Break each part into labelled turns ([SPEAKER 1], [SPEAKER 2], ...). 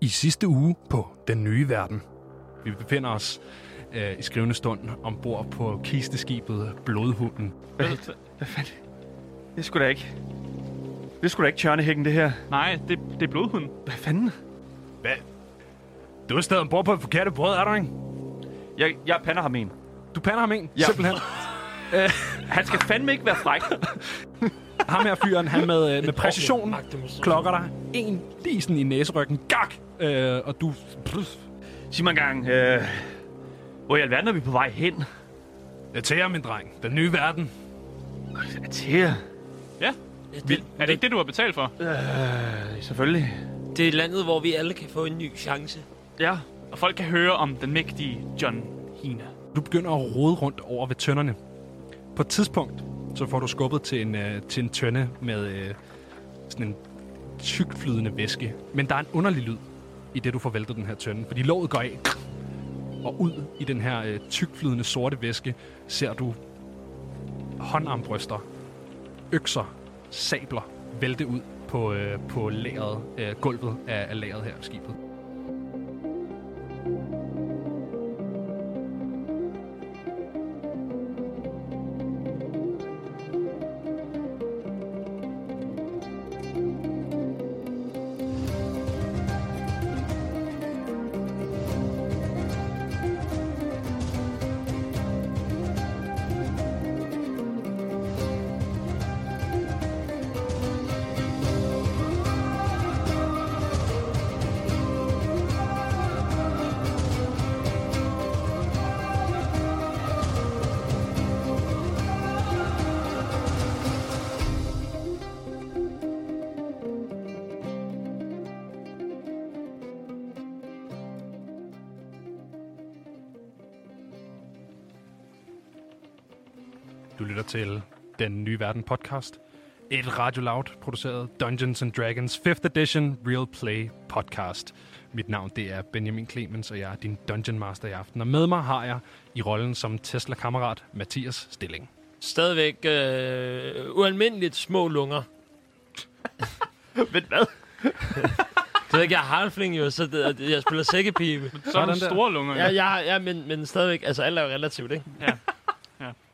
[SPEAKER 1] i sidste uge på Den Nye Verden. Vi befinder os øh, i skrivende stund ombord på kisteskibet Blodhunden.
[SPEAKER 2] Hvad, hvad, hvad fanden? Det skulle da ikke... Det skulle da ikke tjørnehækken, det her.
[SPEAKER 3] Nej, det, det er blodhunden.
[SPEAKER 2] Hvad fanden?
[SPEAKER 1] Hvad? Du er stadig ombord på et forkerte brød, er du ikke?
[SPEAKER 2] Jeg, jeg pander ham en.
[SPEAKER 1] Du pander ham en, ja.
[SPEAKER 2] Ja.
[SPEAKER 1] simpelthen.
[SPEAKER 2] Han skal fandme ikke være fræk.
[SPEAKER 1] Ham her fyren, han med, øh, med præcision
[SPEAKER 4] magtdemonstration.
[SPEAKER 1] klokker dig en lige sådan i næseryggen. Gak! Øh, og du... Pff,
[SPEAKER 2] Sig mig engang, øh, hvor i alverden er vi på vej hen?
[SPEAKER 1] det tager min dreng. Den nye verden.
[SPEAKER 2] Atea.
[SPEAKER 3] Ja,
[SPEAKER 4] Det,
[SPEAKER 3] er det ikke det, du har betalt for?
[SPEAKER 2] Øh, selvfølgelig.
[SPEAKER 4] det er landet, hvor vi alle kan få en ny chance.
[SPEAKER 2] Ja.
[SPEAKER 3] Og folk kan høre om den mægtige John Hina.
[SPEAKER 1] Du begynder at rode rundt over ved tønderne. På et tidspunkt, så får du skubbet til en, øh, til en tønde med øh, sådan en tykflydende væske. Men der er en underlig lyd i det, du får væltet den her tønde. Fordi låget går af, og ud i den her øh, tykflydende sorte væske ser du håndarmbryster, økser, sabler vælte ud på, øh, på lageret, øh, gulvet af, af lageret her på skibet. Du lytter til Den Nye Verden podcast. Et Radio Loud produceret Dungeons and Dragons 5th Edition Real Play podcast. Mit navn det er Benjamin Clemens, og jeg er din Dungeon Master i aften. Og med mig har jeg i rollen som Tesla-kammerat Mathias Stilling.
[SPEAKER 4] Stadigvæk øh, ualmindeligt små lunger.
[SPEAKER 2] Men hvad?
[SPEAKER 4] Det ved jeg ikke, jeg er harfling jo, så det, jeg spiller sækkepibe.
[SPEAKER 3] Så er
[SPEAKER 1] Sådan
[SPEAKER 3] der
[SPEAKER 1] der.
[SPEAKER 3] store lunger.
[SPEAKER 4] Ja, ja, ja men, men stadigvæk, altså alt er jo relativt, ikke?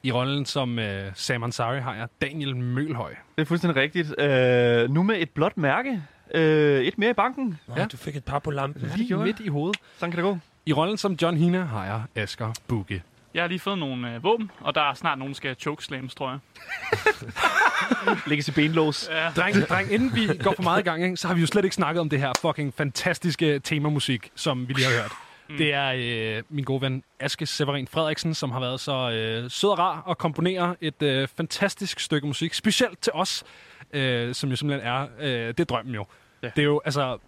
[SPEAKER 1] I rollen som øh, Sam Ansari har jeg Daniel Mølhøj.
[SPEAKER 2] Det er fuldstændig rigtigt. Øh, nu med et blåt mærke. Øh, et mere i banken.
[SPEAKER 4] Nå,
[SPEAKER 1] Ja.
[SPEAKER 4] ja. du fik et par på lampen.
[SPEAKER 2] det
[SPEAKER 1] Lige
[SPEAKER 2] gjorde
[SPEAKER 1] midt i hovedet.
[SPEAKER 2] Sådan kan det gå.
[SPEAKER 1] I rollen som John Hina har jeg Asger Bukke.
[SPEAKER 3] Jeg har lige fået nogle øh, våben, og der er snart nogen, der skal chokeslams, tror jeg.
[SPEAKER 2] Lægges i benlås.
[SPEAKER 3] Ja.
[SPEAKER 1] Dreng, dreng, inden vi går for meget i gang, ikke, så har vi jo slet ikke snakket om det her fucking fantastiske temamusik, som vi lige har hørt. Mm. Det er øh, min gode ven Aske Severin Frederiksen, som har været så øh, sød og rar og komponere et øh, fantastisk stykke musik, specielt til os, øh, som jo simpelthen er, øh, det er drømmen jo.
[SPEAKER 2] Ja.
[SPEAKER 1] Det er jo, altså,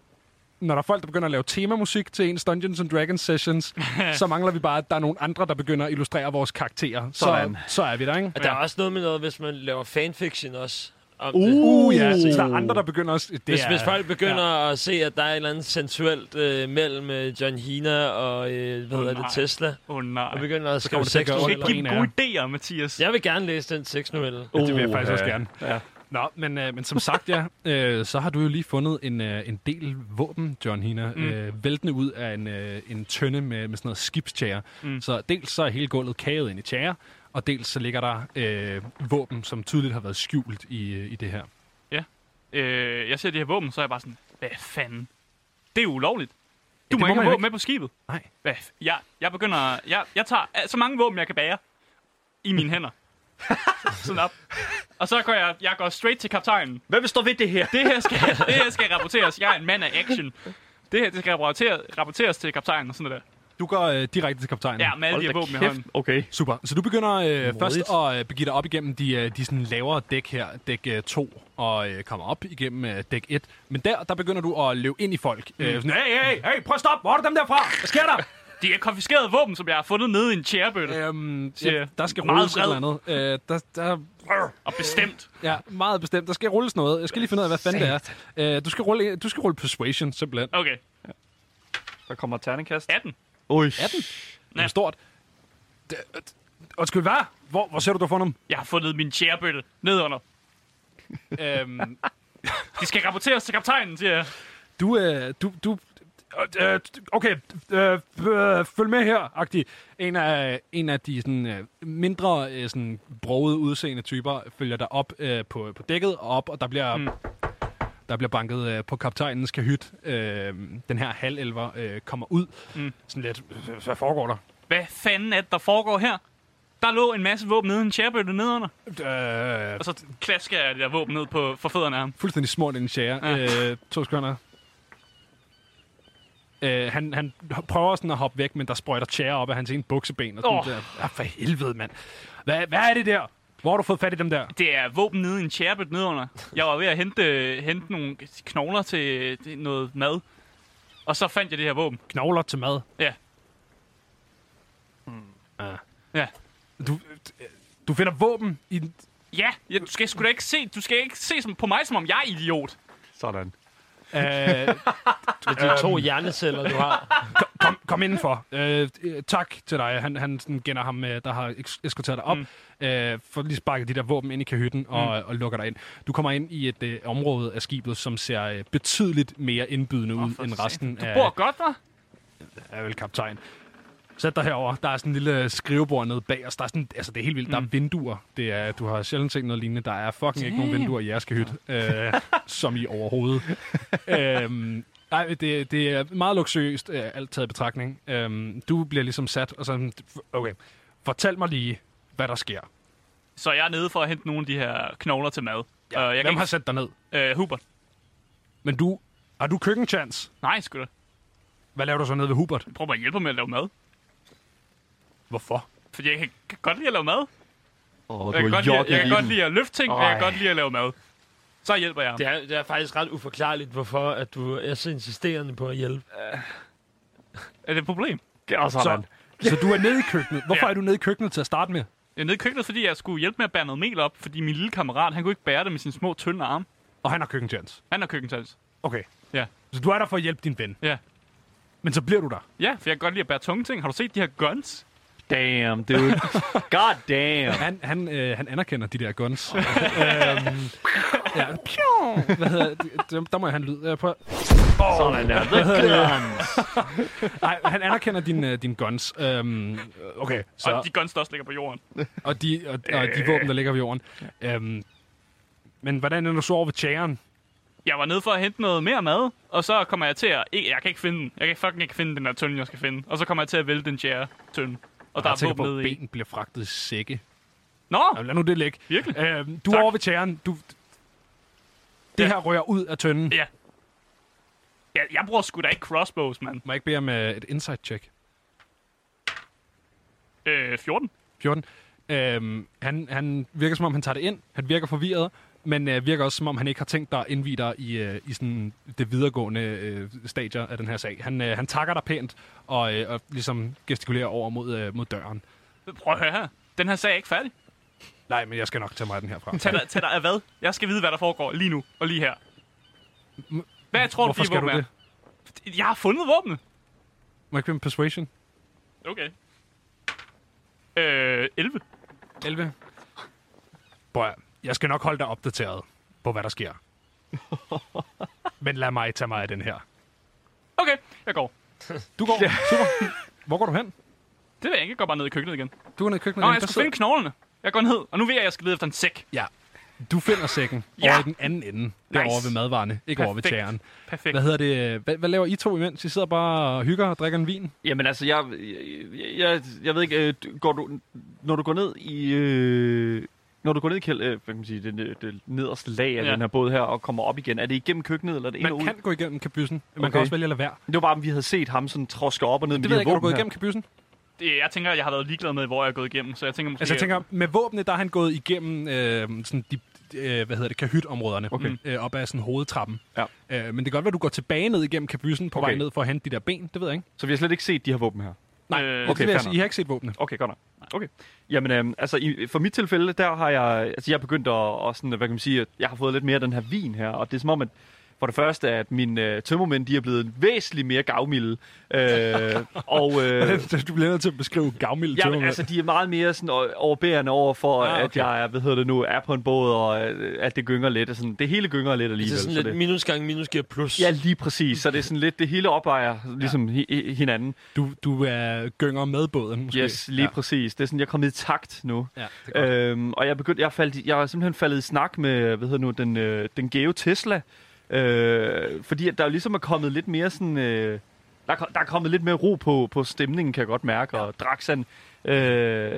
[SPEAKER 1] når der er folk, der begynder at lave temamusik til ens Dungeons and Dragons sessions, så mangler vi bare, at der er nogle andre, der begynder at illustrere vores karakterer. Så,
[SPEAKER 2] Sådan.
[SPEAKER 1] så er vi der, ikke?
[SPEAKER 4] Og der er også noget med noget, hvis man laver fanfiction også. Om det.
[SPEAKER 1] Uh, ja, så der er andre, der begynder at... Det
[SPEAKER 4] Hvis,
[SPEAKER 1] er,
[SPEAKER 4] hvis folk begynder ja. at se, at der er et eller andet sensuelt øh, mellem øh, John Hina og øh, hvad
[SPEAKER 3] Åh,
[SPEAKER 4] hedder det,
[SPEAKER 3] nej.
[SPEAKER 4] Tesla,
[SPEAKER 3] Åh oh, nej.
[SPEAKER 4] og begynder at
[SPEAKER 1] kommer
[SPEAKER 4] skrive
[SPEAKER 1] det til at gøre
[SPEAKER 3] Du
[SPEAKER 1] ondt.
[SPEAKER 3] skal
[SPEAKER 4] sexnoveller.
[SPEAKER 3] ikke give gode idéer, Mathias.
[SPEAKER 4] Jeg vil gerne læse den sexnovelle.
[SPEAKER 1] Ja, det vil jeg faktisk også
[SPEAKER 2] Uha.
[SPEAKER 1] gerne.
[SPEAKER 2] Ja.
[SPEAKER 1] Nå, men, øh, men som sagt, ja, øh, så har du jo lige fundet en, øh, en del våben, John Hina, mm. øh, væltende ud af en, øh, en tønde med, med sådan noget skibstjære. Mm. Så dels så er hele gulvet kaget ind i tjære, og dels så ligger der øh, våben, som tydeligt har været skjult i, øh, i det her.
[SPEAKER 3] Øh, jeg ser de her våben, så er jeg bare sådan, hvad fanden? Det er ulovligt. Du
[SPEAKER 1] det må
[SPEAKER 3] må ikke
[SPEAKER 1] man jo
[SPEAKER 3] have våben
[SPEAKER 1] ikke.
[SPEAKER 3] med på skibet.
[SPEAKER 1] Nej.
[SPEAKER 3] Hvad? f- Jeg, jeg begynder... Jeg, jeg tager øh, så mange våben, jeg kan bære i mine hænder. Sådan op. Og så går jeg, jeg går straight til kaptajnen.
[SPEAKER 2] Hvad vil stå ved det her?
[SPEAKER 3] Det her skal, det her skal rapporteres. Jeg er en mand af action. Det her det skal rapporteres, rapporteres til kaptajnen og sådan noget der.
[SPEAKER 1] Du går øh, direkte til kaptajnen.
[SPEAKER 3] Ja, med alle de her våben i hånden.
[SPEAKER 2] Okay.
[SPEAKER 1] Super. Så du begynder øh, først
[SPEAKER 4] Modigt.
[SPEAKER 1] at øh, begive dig op igennem de, øh, de sådan lavere dæk her, dæk 2, og øh, kommer op igennem øh, dæk 1. Men der, der begynder du at løbe ind i folk. Mm. Øh, sådan, hey, hey, hey, prøv at stoppe! Hvor er du dem derfra? Hvad sker der?
[SPEAKER 3] De er konfiskerede våben, som jeg har fundet nede i en tjærebøtte.
[SPEAKER 1] Øhm,
[SPEAKER 3] Siger
[SPEAKER 1] ja,
[SPEAKER 3] jeg.
[SPEAKER 1] der skal
[SPEAKER 3] Meget
[SPEAKER 1] rulles et eller andet. Øh, der, der,
[SPEAKER 3] Og bestemt.
[SPEAKER 1] ja, meget bestemt. Der skal rulles noget. Jeg skal lige finde ud af, hvad fanden det er. Øh, du, skal rulle, du skal rulle Persuasion, simpelthen.
[SPEAKER 3] Okay,
[SPEAKER 2] Der kommer et terningkast.
[SPEAKER 3] 18.
[SPEAKER 2] Oj.
[SPEAKER 1] 18. Det er
[SPEAKER 3] Ja.
[SPEAKER 1] stort. Det- øh, Undskyld, hvad? Hvor, hvor ser du, du har fundet dem?
[SPEAKER 3] Jeg har fundet min tjærebøtte nedunder.
[SPEAKER 1] øhm,
[SPEAKER 3] De skal rapporteres til kaptajnen, siger jeg.
[SPEAKER 1] Du, øh, du, du øh, okay, øh, øh, følg med her, agtig. En af, en af de sådan, øh, mindre øh, sådan, broede udseende typer følger dig op øh, på, på dækket og op, og der bliver, mm. der bliver banket øh, på kaptajnens kahyt. Øh, den her halvelver øh, kommer ud. Mm. Sådan lidt, øh, hvad foregår der?
[SPEAKER 3] Hvad fanden er det, der foregår her? Der lå en masse våben nede i en chairbøtte nedenunder.
[SPEAKER 1] Øh,
[SPEAKER 3] Og så klasker jeg det der våben ned på for fødderne af ham.
[SPEAKER 1] fuldstændig smurt i en sjære. Ja. Øh, to sekunder. Øh, han, han prøver sådan at hoppe væk, men der sprøjter tjære op af hans ene bukseben. Og sådan
[SPEAKER 3] Åh.
[SPEAKER 1] oh. der. Ah, for helvede, mand. Hvad, hvad er det der? Hvor har du fået fat i dem der?
[SPEAKER 3] Det er våben nede i en chairbøtte nedenunder. Jeg var ved at hente, øh, hente nogle knogler til til noget mad. Og så fandt jeg det her våben.
[SPEAKER 1] Knogler til mad.
[SPEAKER 3] Ja.
[SPEAKER 1] Ah.
[SPEAKER 3] Ja.
[SPEAKER 1] Du, du finder våben i... den-
[SPEAKER 3] Ja, ja du skal sgu da ikke se, du skal ikke se som, på mig, som om jeg er idiot.
[SPEAKER 2] Sådan.
[SPEAKER 1] Øh,
[SPEAKER 4] Det er de
[SPEAKER 3] Øhm.
[SPEAKER 4] to hjerneceller, du har.
[SPEAKER 1] kom, kom indenfor. Øh, øh, tak til dig. Han, han sådan gænder ham, øh, der har eks- eskorteret dig op, mm. øh, for lige sparket de der våben ind i kahytten og, mm. og lukker dig ind. Du kommer ind i et øh, område af skibet, som ser øh, betydeligt mere indbydende oh, ud
[SPEAKER 3] for
[SPEAKER 1] end
[SPEAKER 3] satan.
[SPEAKER 1] resten
[SPEAKER 3] Du
[SPEAKER 1] af,
[SPEAKER 3] bor godt, hva'?
[SPEAKER 1] af vel kaptajn. Sæt dig herover. Der er sådan en lille skrivebord nede bag os. Der er sådan, altså det er helt vildt. Mm. Der er vinduer. Det er, du har sjældent set noget lignende. Der er fucking ikke nogen
[SPEAKER 3] Damn.
[SPEAKER 1] vinduer i jeres kahyt. Øh, som i overhovedet. øhm, nej, det, det er meget luksuriøst, øh, alt taget i betragtning. Øhm, du bliver ligesom sat, og sådan, okay, fortæl mig lige, hvad der sker.
[SPEAKER 3] Så jeg er nede for at hente nogle af de her knogler til mad. Ja, og jeg
[SPEAKER 1] Hvem
[SPEAKER 3] kan
[SPEAKER 1] har sat dig ned?
[SPEAKER 3] ikke... Øh, Hubert.
[SPEAKER 1] Men du, har du køkkenchance?
[SPEAKER 3] Nej, sgu da.
[SPEAKER 1] Hvad laver du så nede ved Hubert?
[SPEAKER 3] Prøv bare at hjælpe mig med at lave mad.
[SPEAKER 1] Hvorfor?
[SPEAKER 3] Fordi jeg kan, kan godt lide at lave mad.
[SPEAKER 2] Åh, oh,
[SPEAKER 3] Jeg kan, godt lide, at- jeg kan godt lide at løfte ting, og jeg kan
[SPEAKER 2] Ej.
[SPEAKER 3] godt lide at lave mad. Så hjælper jeg ham.
[SPEAKER 4] Det er, det er faktisk ret uforklarligt, hvorfor at du er så insisterende på at hjælpe.
[SPEAKER 3] Er det et problem?
[SPEAKER 2] Og sådan.
[SPEAKER 1] Så, så
[SPEAKER 2] Så.
[SPEAKER 1] du er nede i køkkenet. Hvorfor
[SPEAKER 3] Ja.
[SPEAKER 1] ja. er du nede i køkkenet til at starte med?
[SPEAKER 3] Jeg er nede i køkkenet, fordi jeg skulle hjælpe med at bære noget mel op, fordi min lille kammerat, han kunne ikke bære det med sine små, tynde arme.
[SPEAKER 1] Og han har køkkenchance.
[SPEAKER 3] Han har køkkentals.
[SPEAKER 1] Okay.
[SPEAKER 3] Ja.
[SPEAKER 1] Så du er der for at hjælpe din ven.
[SPEAKER 3] Ja.
[SPEAKER 1] Men så bliver du der.
[SPEAKER 3] Ja, for jeg kan godt lide at bære tunge ting. Har du set de her guns?
[SPEAKER 2] Damn, dude. God damn.
[SPEAKER 1] Han, han, øh, han anerkender de der guns. øhm, ja. Pju! Hvad hedder det? Der- Der må jeg have en lyd. Øh, prøv.
[SPEAKER 2] Sådan der. The guns.
[SPEAKER 1] Nej, han anerkender din, øh, din guns. Øhm, okay, så...
[SPEAKER 3] Og de guns, der også ligger på jorden.
[SPEAKER 1] Og de, og, og de våben, der ligger ved jorden. Øhm, men hvordan er du så over ved tjæren?
[SPEAKER 3] Jeg var nede for at hente noget mere mad, og så kommer jeg til at... ikke- Jeg kan ikke finde den. Jeg kan fucking ikke finde den der tønde, jeg skal finde. Og så kommer jeg til at vælte den tjære tønde. Og, og der
[SPEAKER 1] Jeg
[SPEAKER 3] er
[SPEAKER 1] tænker
[SPEAKER 3] våben
[SPEAKER 1] på, at
[SPEAKER 3] nede i.
[SPEAKER 1] benen bliver fragtet i sække.
[SPEAKER 3] Nå,
[SPEAKER 1] Jamen, lad nu det ligge.
[SPEAKER 3] Virkelig?
[SPEAKER 1] Øhm, du er
[SPEAKER 3] Tak.
[SPEAKER 1] over ved tjæren. Du, det
[SPEAKER 3] Ja.
[SPEAKER 1] her rører ud af tønden.
[SPEAKER 3] Ja. Jeg, jeg bruger sgu da ikke crossbows, mand.
[SPEAKER 1] Må jeg ikke bede om øh, et insight-check?
[SPEAKER 3] Øh, 14?
[SPEAKER 1] 14. Øhm, han, han virker som om, han tager det ind. Han virker forvirret, men øh, virker også som om, han ikke har tænkt dig at indvide dig i, øh, i sådan det videregående øh, stadier af den her sag. Han, øh, han takker dig pænt og, øh, og ligesom gestikulerer over mod, øh, mod døren.
[SPEAKER 3] Prøv at høre her. Den her sag er ikke færdig.
[SPEAKER 1] Nej, men jeg skal nok tage mig af den herfra.
[SPEAKER 3] Tag dig, tag dig af hvad? Jeg skal vide, hvad der foregår lige nu og lige her. Hvad tror
[SPEAKER 1] Hvorfor
[SPEAKER 3] du, de
[SPEAKER 1] skal du
[SPEAKER 3] våben
[SPEAKER 1] det?
[SPEAKER 3] er? Jeg har fundet våbnet.
[SPEAKER 1] Må jeg ikke bede om persuasion?
[SPEAKER 3] Okay. Øh, 11.
[SPEAKER 1] 11. Bør, jeg skal nok holde dig opdateret på, hvad der sker. men lad mig tage mig af den her.
[SPEAKER 3] Okay, jeg går.
[SPEAKER 1] Du går. Super. Hvor går du hen?
[SPEAKER 3] Det vil jeg ikke. Jeg går bare ned i køkkenet igen.
[SPEAKER 1] Du går ned i køkkenet.
[SPEAKER 3] Nå,
[SPEAKER 1] igen.
[SPEAKER 3] jeg
[SPEAKER 1] Der
[SPEAKER 3] skal finde knoglerne. Jeg går ned, og nu ved jeg, at jeg skal lede efter en sæk.
[SPEAKER 1] Ja. Du finder sækken
[SPEAKER 3] Ja.
[SPEAKER 1] ja. over i den anden ende. Nice. Derovre ved madvarerne, ikke over ved
[SPEAKER 3] Perfekt.
[SPEAKER 1] tjæren.
[SPEAKER 3] Perfekt.
[SPEAKER 1] Hvad hedder det? Hvad, hvad laver I to imens? I sidder bare og hygger og drikker en vin?
[SPEAKER 2] Jamen altså, jeg, jeg, jeg, jeg ved ikke, øh, du- går du, når du går ned i... Øh, når du går ned i kæld, øh, hvad kan man sige, det, det, det nederste lag af
[SPEAKER 3] Ja.
[SPEAKER 2] ja. den her båd her og kommer op igen, er det igennem køkkenet, eller er det ind og
[SPEAKER 1] Man
[SPEAKER 2] ud?
[SPEAKER 1] kan gå igennem kabyssen. Man
[SPEAKER 2] Okay.
[SPEAKER 1] kan også vælge at lade være.
[SPEAKER 2] Det var bare, om vi havde set ham sådan troske op og ned med
[SPEAKER 1] Det
[SPEAKER 2] de
[SPEAKER 1] ved
[SPEAKER 2] her
[SPEAKER 1] jeg ikke, er du
[SPEAKER 2] våben
[SPEAKER 1] gået
[SPEAKER 2] her.
[SPEAKER 1] igennem kabyssen?
[SPEAKER 3] Det, jeg tænker, jeg har været ligeglad med, hvor jeg er gået igennem, så jeg tænker måske...
[SPEAKER 1] Altså jeg tænker, med våbne, der er han gået igennem øh, sådan de, øh, hvad hedder det, kahytområderne.
[SPEAKER 2] Okay.
[SPEAKER 1] Øh, op ad sådan hovedtrappen.
[SPEAKER 2] Ja.
[SPEAKER 1] Øh, men det kan godt være, at du går tilbage ned igennem kabyssen på okay. vej
[SPEAKER 2] Okay.
[SPEAKER 1] ned for at hente de der ben. Det ved jeg ikke.
[SPEAKER 2] Så vi har slet ikke set de her våben her.
[SPEAKER 1] Nej,
[SPEAKER 3] Øh,
[SPEAKER 1] øh, okay,
[SPEAKER 2] okay,
[SPEAKER 1] det
[SPEAKER 2] fair
[SPEAKER 1] vil jeg sige. I har ikke set våbne.
[SPEAKER 2] Okay, godt nok. Okay. Jamen, øhm, altså, i, for mit tilfælde, der har jeg, altså, jeg er begyndt at, at sådan, hvad kan man sige, at jeg har fået lidt mere af den her vin her, og det er som om, at For det første er, at mine øh, tømmermænd, de er blevet væsentligt mere gavmilde. Øh, og, øh,
[SPEAKER 1] du bliver nødt til at beskrive gavmild
[SPEAKER 2] Ja, men, altså, de er meget mere sådan øh, overbærende over for,
[SPEAKER 1] Ah,
[SPEAKER 2] ah, okay. at
[SPEAKER 1] okay.
[SPEAKER 2] jeg er, hvad hedder det nu, er på en båd, og øh, at det gynger lidt. Og sådan, det hele gynger lidt
[SPEAKER 4] Det
[SPEAKER 2] alligevel.
[SPEAKER 4] er Altså sådan lidt minus gange minus giver plus.
[SPEAKER 2] Ja, lige præcis. Så det er sådan lidt, det hele opvejer ligesom ja. hinanden.
[SPEAKER 1] Du, du er gynger med båden, måske.
[SPEAKER 2] Yes, lige ja. præcis. Det er sådan, jeg er kommet i takt nu.
[SPEAKER 1] Ja, det er godt.
[SPEAKER 2] Øhm, og jeg begyndte, jeg, er faldt, i- jeg er simpelthen faldet i snak med, hvad hedder nu, den, øh, den gave Tesla. Øh, fordi at der jo ligesom er kommet lidt mere sådan, øh, der, er, ko- der er kommet lidt mere ro på, på stemningen, kan jeg godt mærke. Ja. Og Drax, han, øh,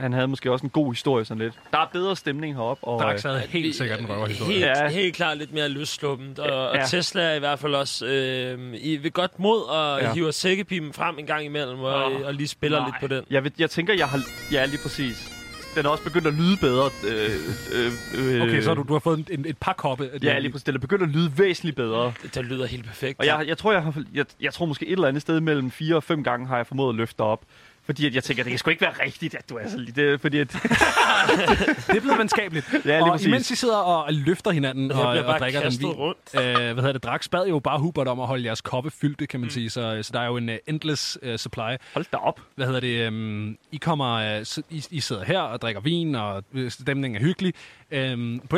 [SPEAKER 2] han havde måske også en god historie sådan lidt. Der er bedre stemning heroppe. Og,
[SPEAKER 1] Drax
[SPEAKER 2] øh,
[SPEAKER 1] havde helt sikkert en røverhistorie.
[SPEAKER 4] Helt,
[SPEAKER 2] Ja.
[SPEAKER 4] ja. helt klart lidt mere løssluppent, og,
[SPEAKER 2] Ja.
[SPEAKER 4] og Tesla er i hvert fald også øh, i, ved godt mod og
[SPEAKER 2] Ja.
[SPEAKER 4] ja. hiver sækkepimen frem en gang imellem, og,
[SPEAKER 2] Åh,
[SPEAKER 4] og lige spiller
[SPEAKER 2] nej.
[SPEAKER 4] nej. lidt på den.
[SPEAKER 2] øh, jeg, ved, jeg tænker, jeg har... Ja, lige præcis. Den er også begyndt at lyde bedre. Øh, øh, øh,
[SPEAKER 1] Okay, så har du, du har fået en, en, et par koppe. af
[SPEAKER 2] Ja,
[SPEAKER 1] den.
[SPEAKER 2] lige præcis. Den er begyndt at lyde væsentligt bedre.
[SPEAKER 4] Det, det lyder helt perfekt.
[SPEAKER 2] Og jeg, jeg, tror, jeg, har, jeg, jeg tror måske et eller andet sted mellem fire og fem gange har jeg formået at løfte dig op. Fordi at jeg tænker, det kan sgu ikke være rigtigt, at du er så lige det. Fordi at,
[SPEAKER 1] Det er blevet venskabeligt.
[SPEAKER 2] lige
[SPEAKER 1] og
[SPEAKER 2] præcis.
[SPEAKER 1] imens I sidder og løfter hinanden og,
[SPEAKER 4] jeg bliver
[SPEAKER 1] og
[SPEAKER 4] bare
[SPEAKER 1] drikker den
[SPEAKER 4] kastet
[SPEAKER 1] vin,
[SPEAKER 4] rundt.
[SPEAKER 1] øh, hvad hedder det, Drax bad jo bare Hubert om at holde jeres koppe fyldte, kan man mm. sige. Så, så der er jo en uh, endless uh, supply.
[SPEAKER 2] hold da op.
[SPEAKER 1] Hvad hedder det? Um, I kommer, uh, s- I, I sidder her og drikker vin, og øh, stemningen er hyggelig. Um, på et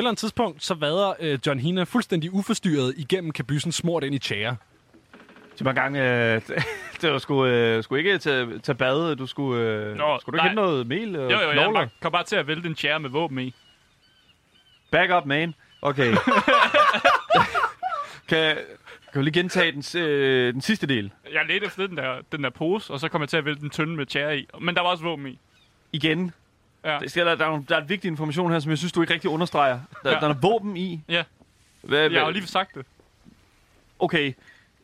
[SPEAKER 1] eller andet tidspunkt, så vader uh, John Hina fuldstændig uforstyrret igennem kabyssen smurt ind i tjære.
[SPEAKER 2] Så mange gange, øh, det var sgu, øh, sgu ikke tage, tage bad. Du skulle, øh,
[SPEAKER 3] Nå,
[SPEAKER 2] skulle du ikke hente
[SPEAKER 3] nej.
[SPEAKER 2] noget mel og
[SPEAKER 3] Jo, jo, jeg
[SPEAKER 2] knogler?
[SPEAKER 3] bare, kom bare til at vælte en chair med våben i.
[SPEAKER 2] Back up, man. Okay. kan, kan du lige gentage den, s- øh, den sidste del?
[SPEAKER 3] Jeg ledte efter den der, den der pose, og så kom jeg til at vælte den tynde med chair i. Men der var også våben i.
[SPEAKER 2] Igen.
[SPEAKER 3] Ja.
[SPEAKER 2] Der, skal- der, der, er, nogle- der er en vigtig information her, som jeg synes, du ikke rigtig understreger. Der,
[SPEAKER 3] Ja.
[SPEAKER 2] der er våben i.
[SPEAKER 3] Ja.
[SPEAKER 2] Hvad,
[SPEAKER 3] Jeg har jo lige sagt det.
[SPEAKER 2] okay,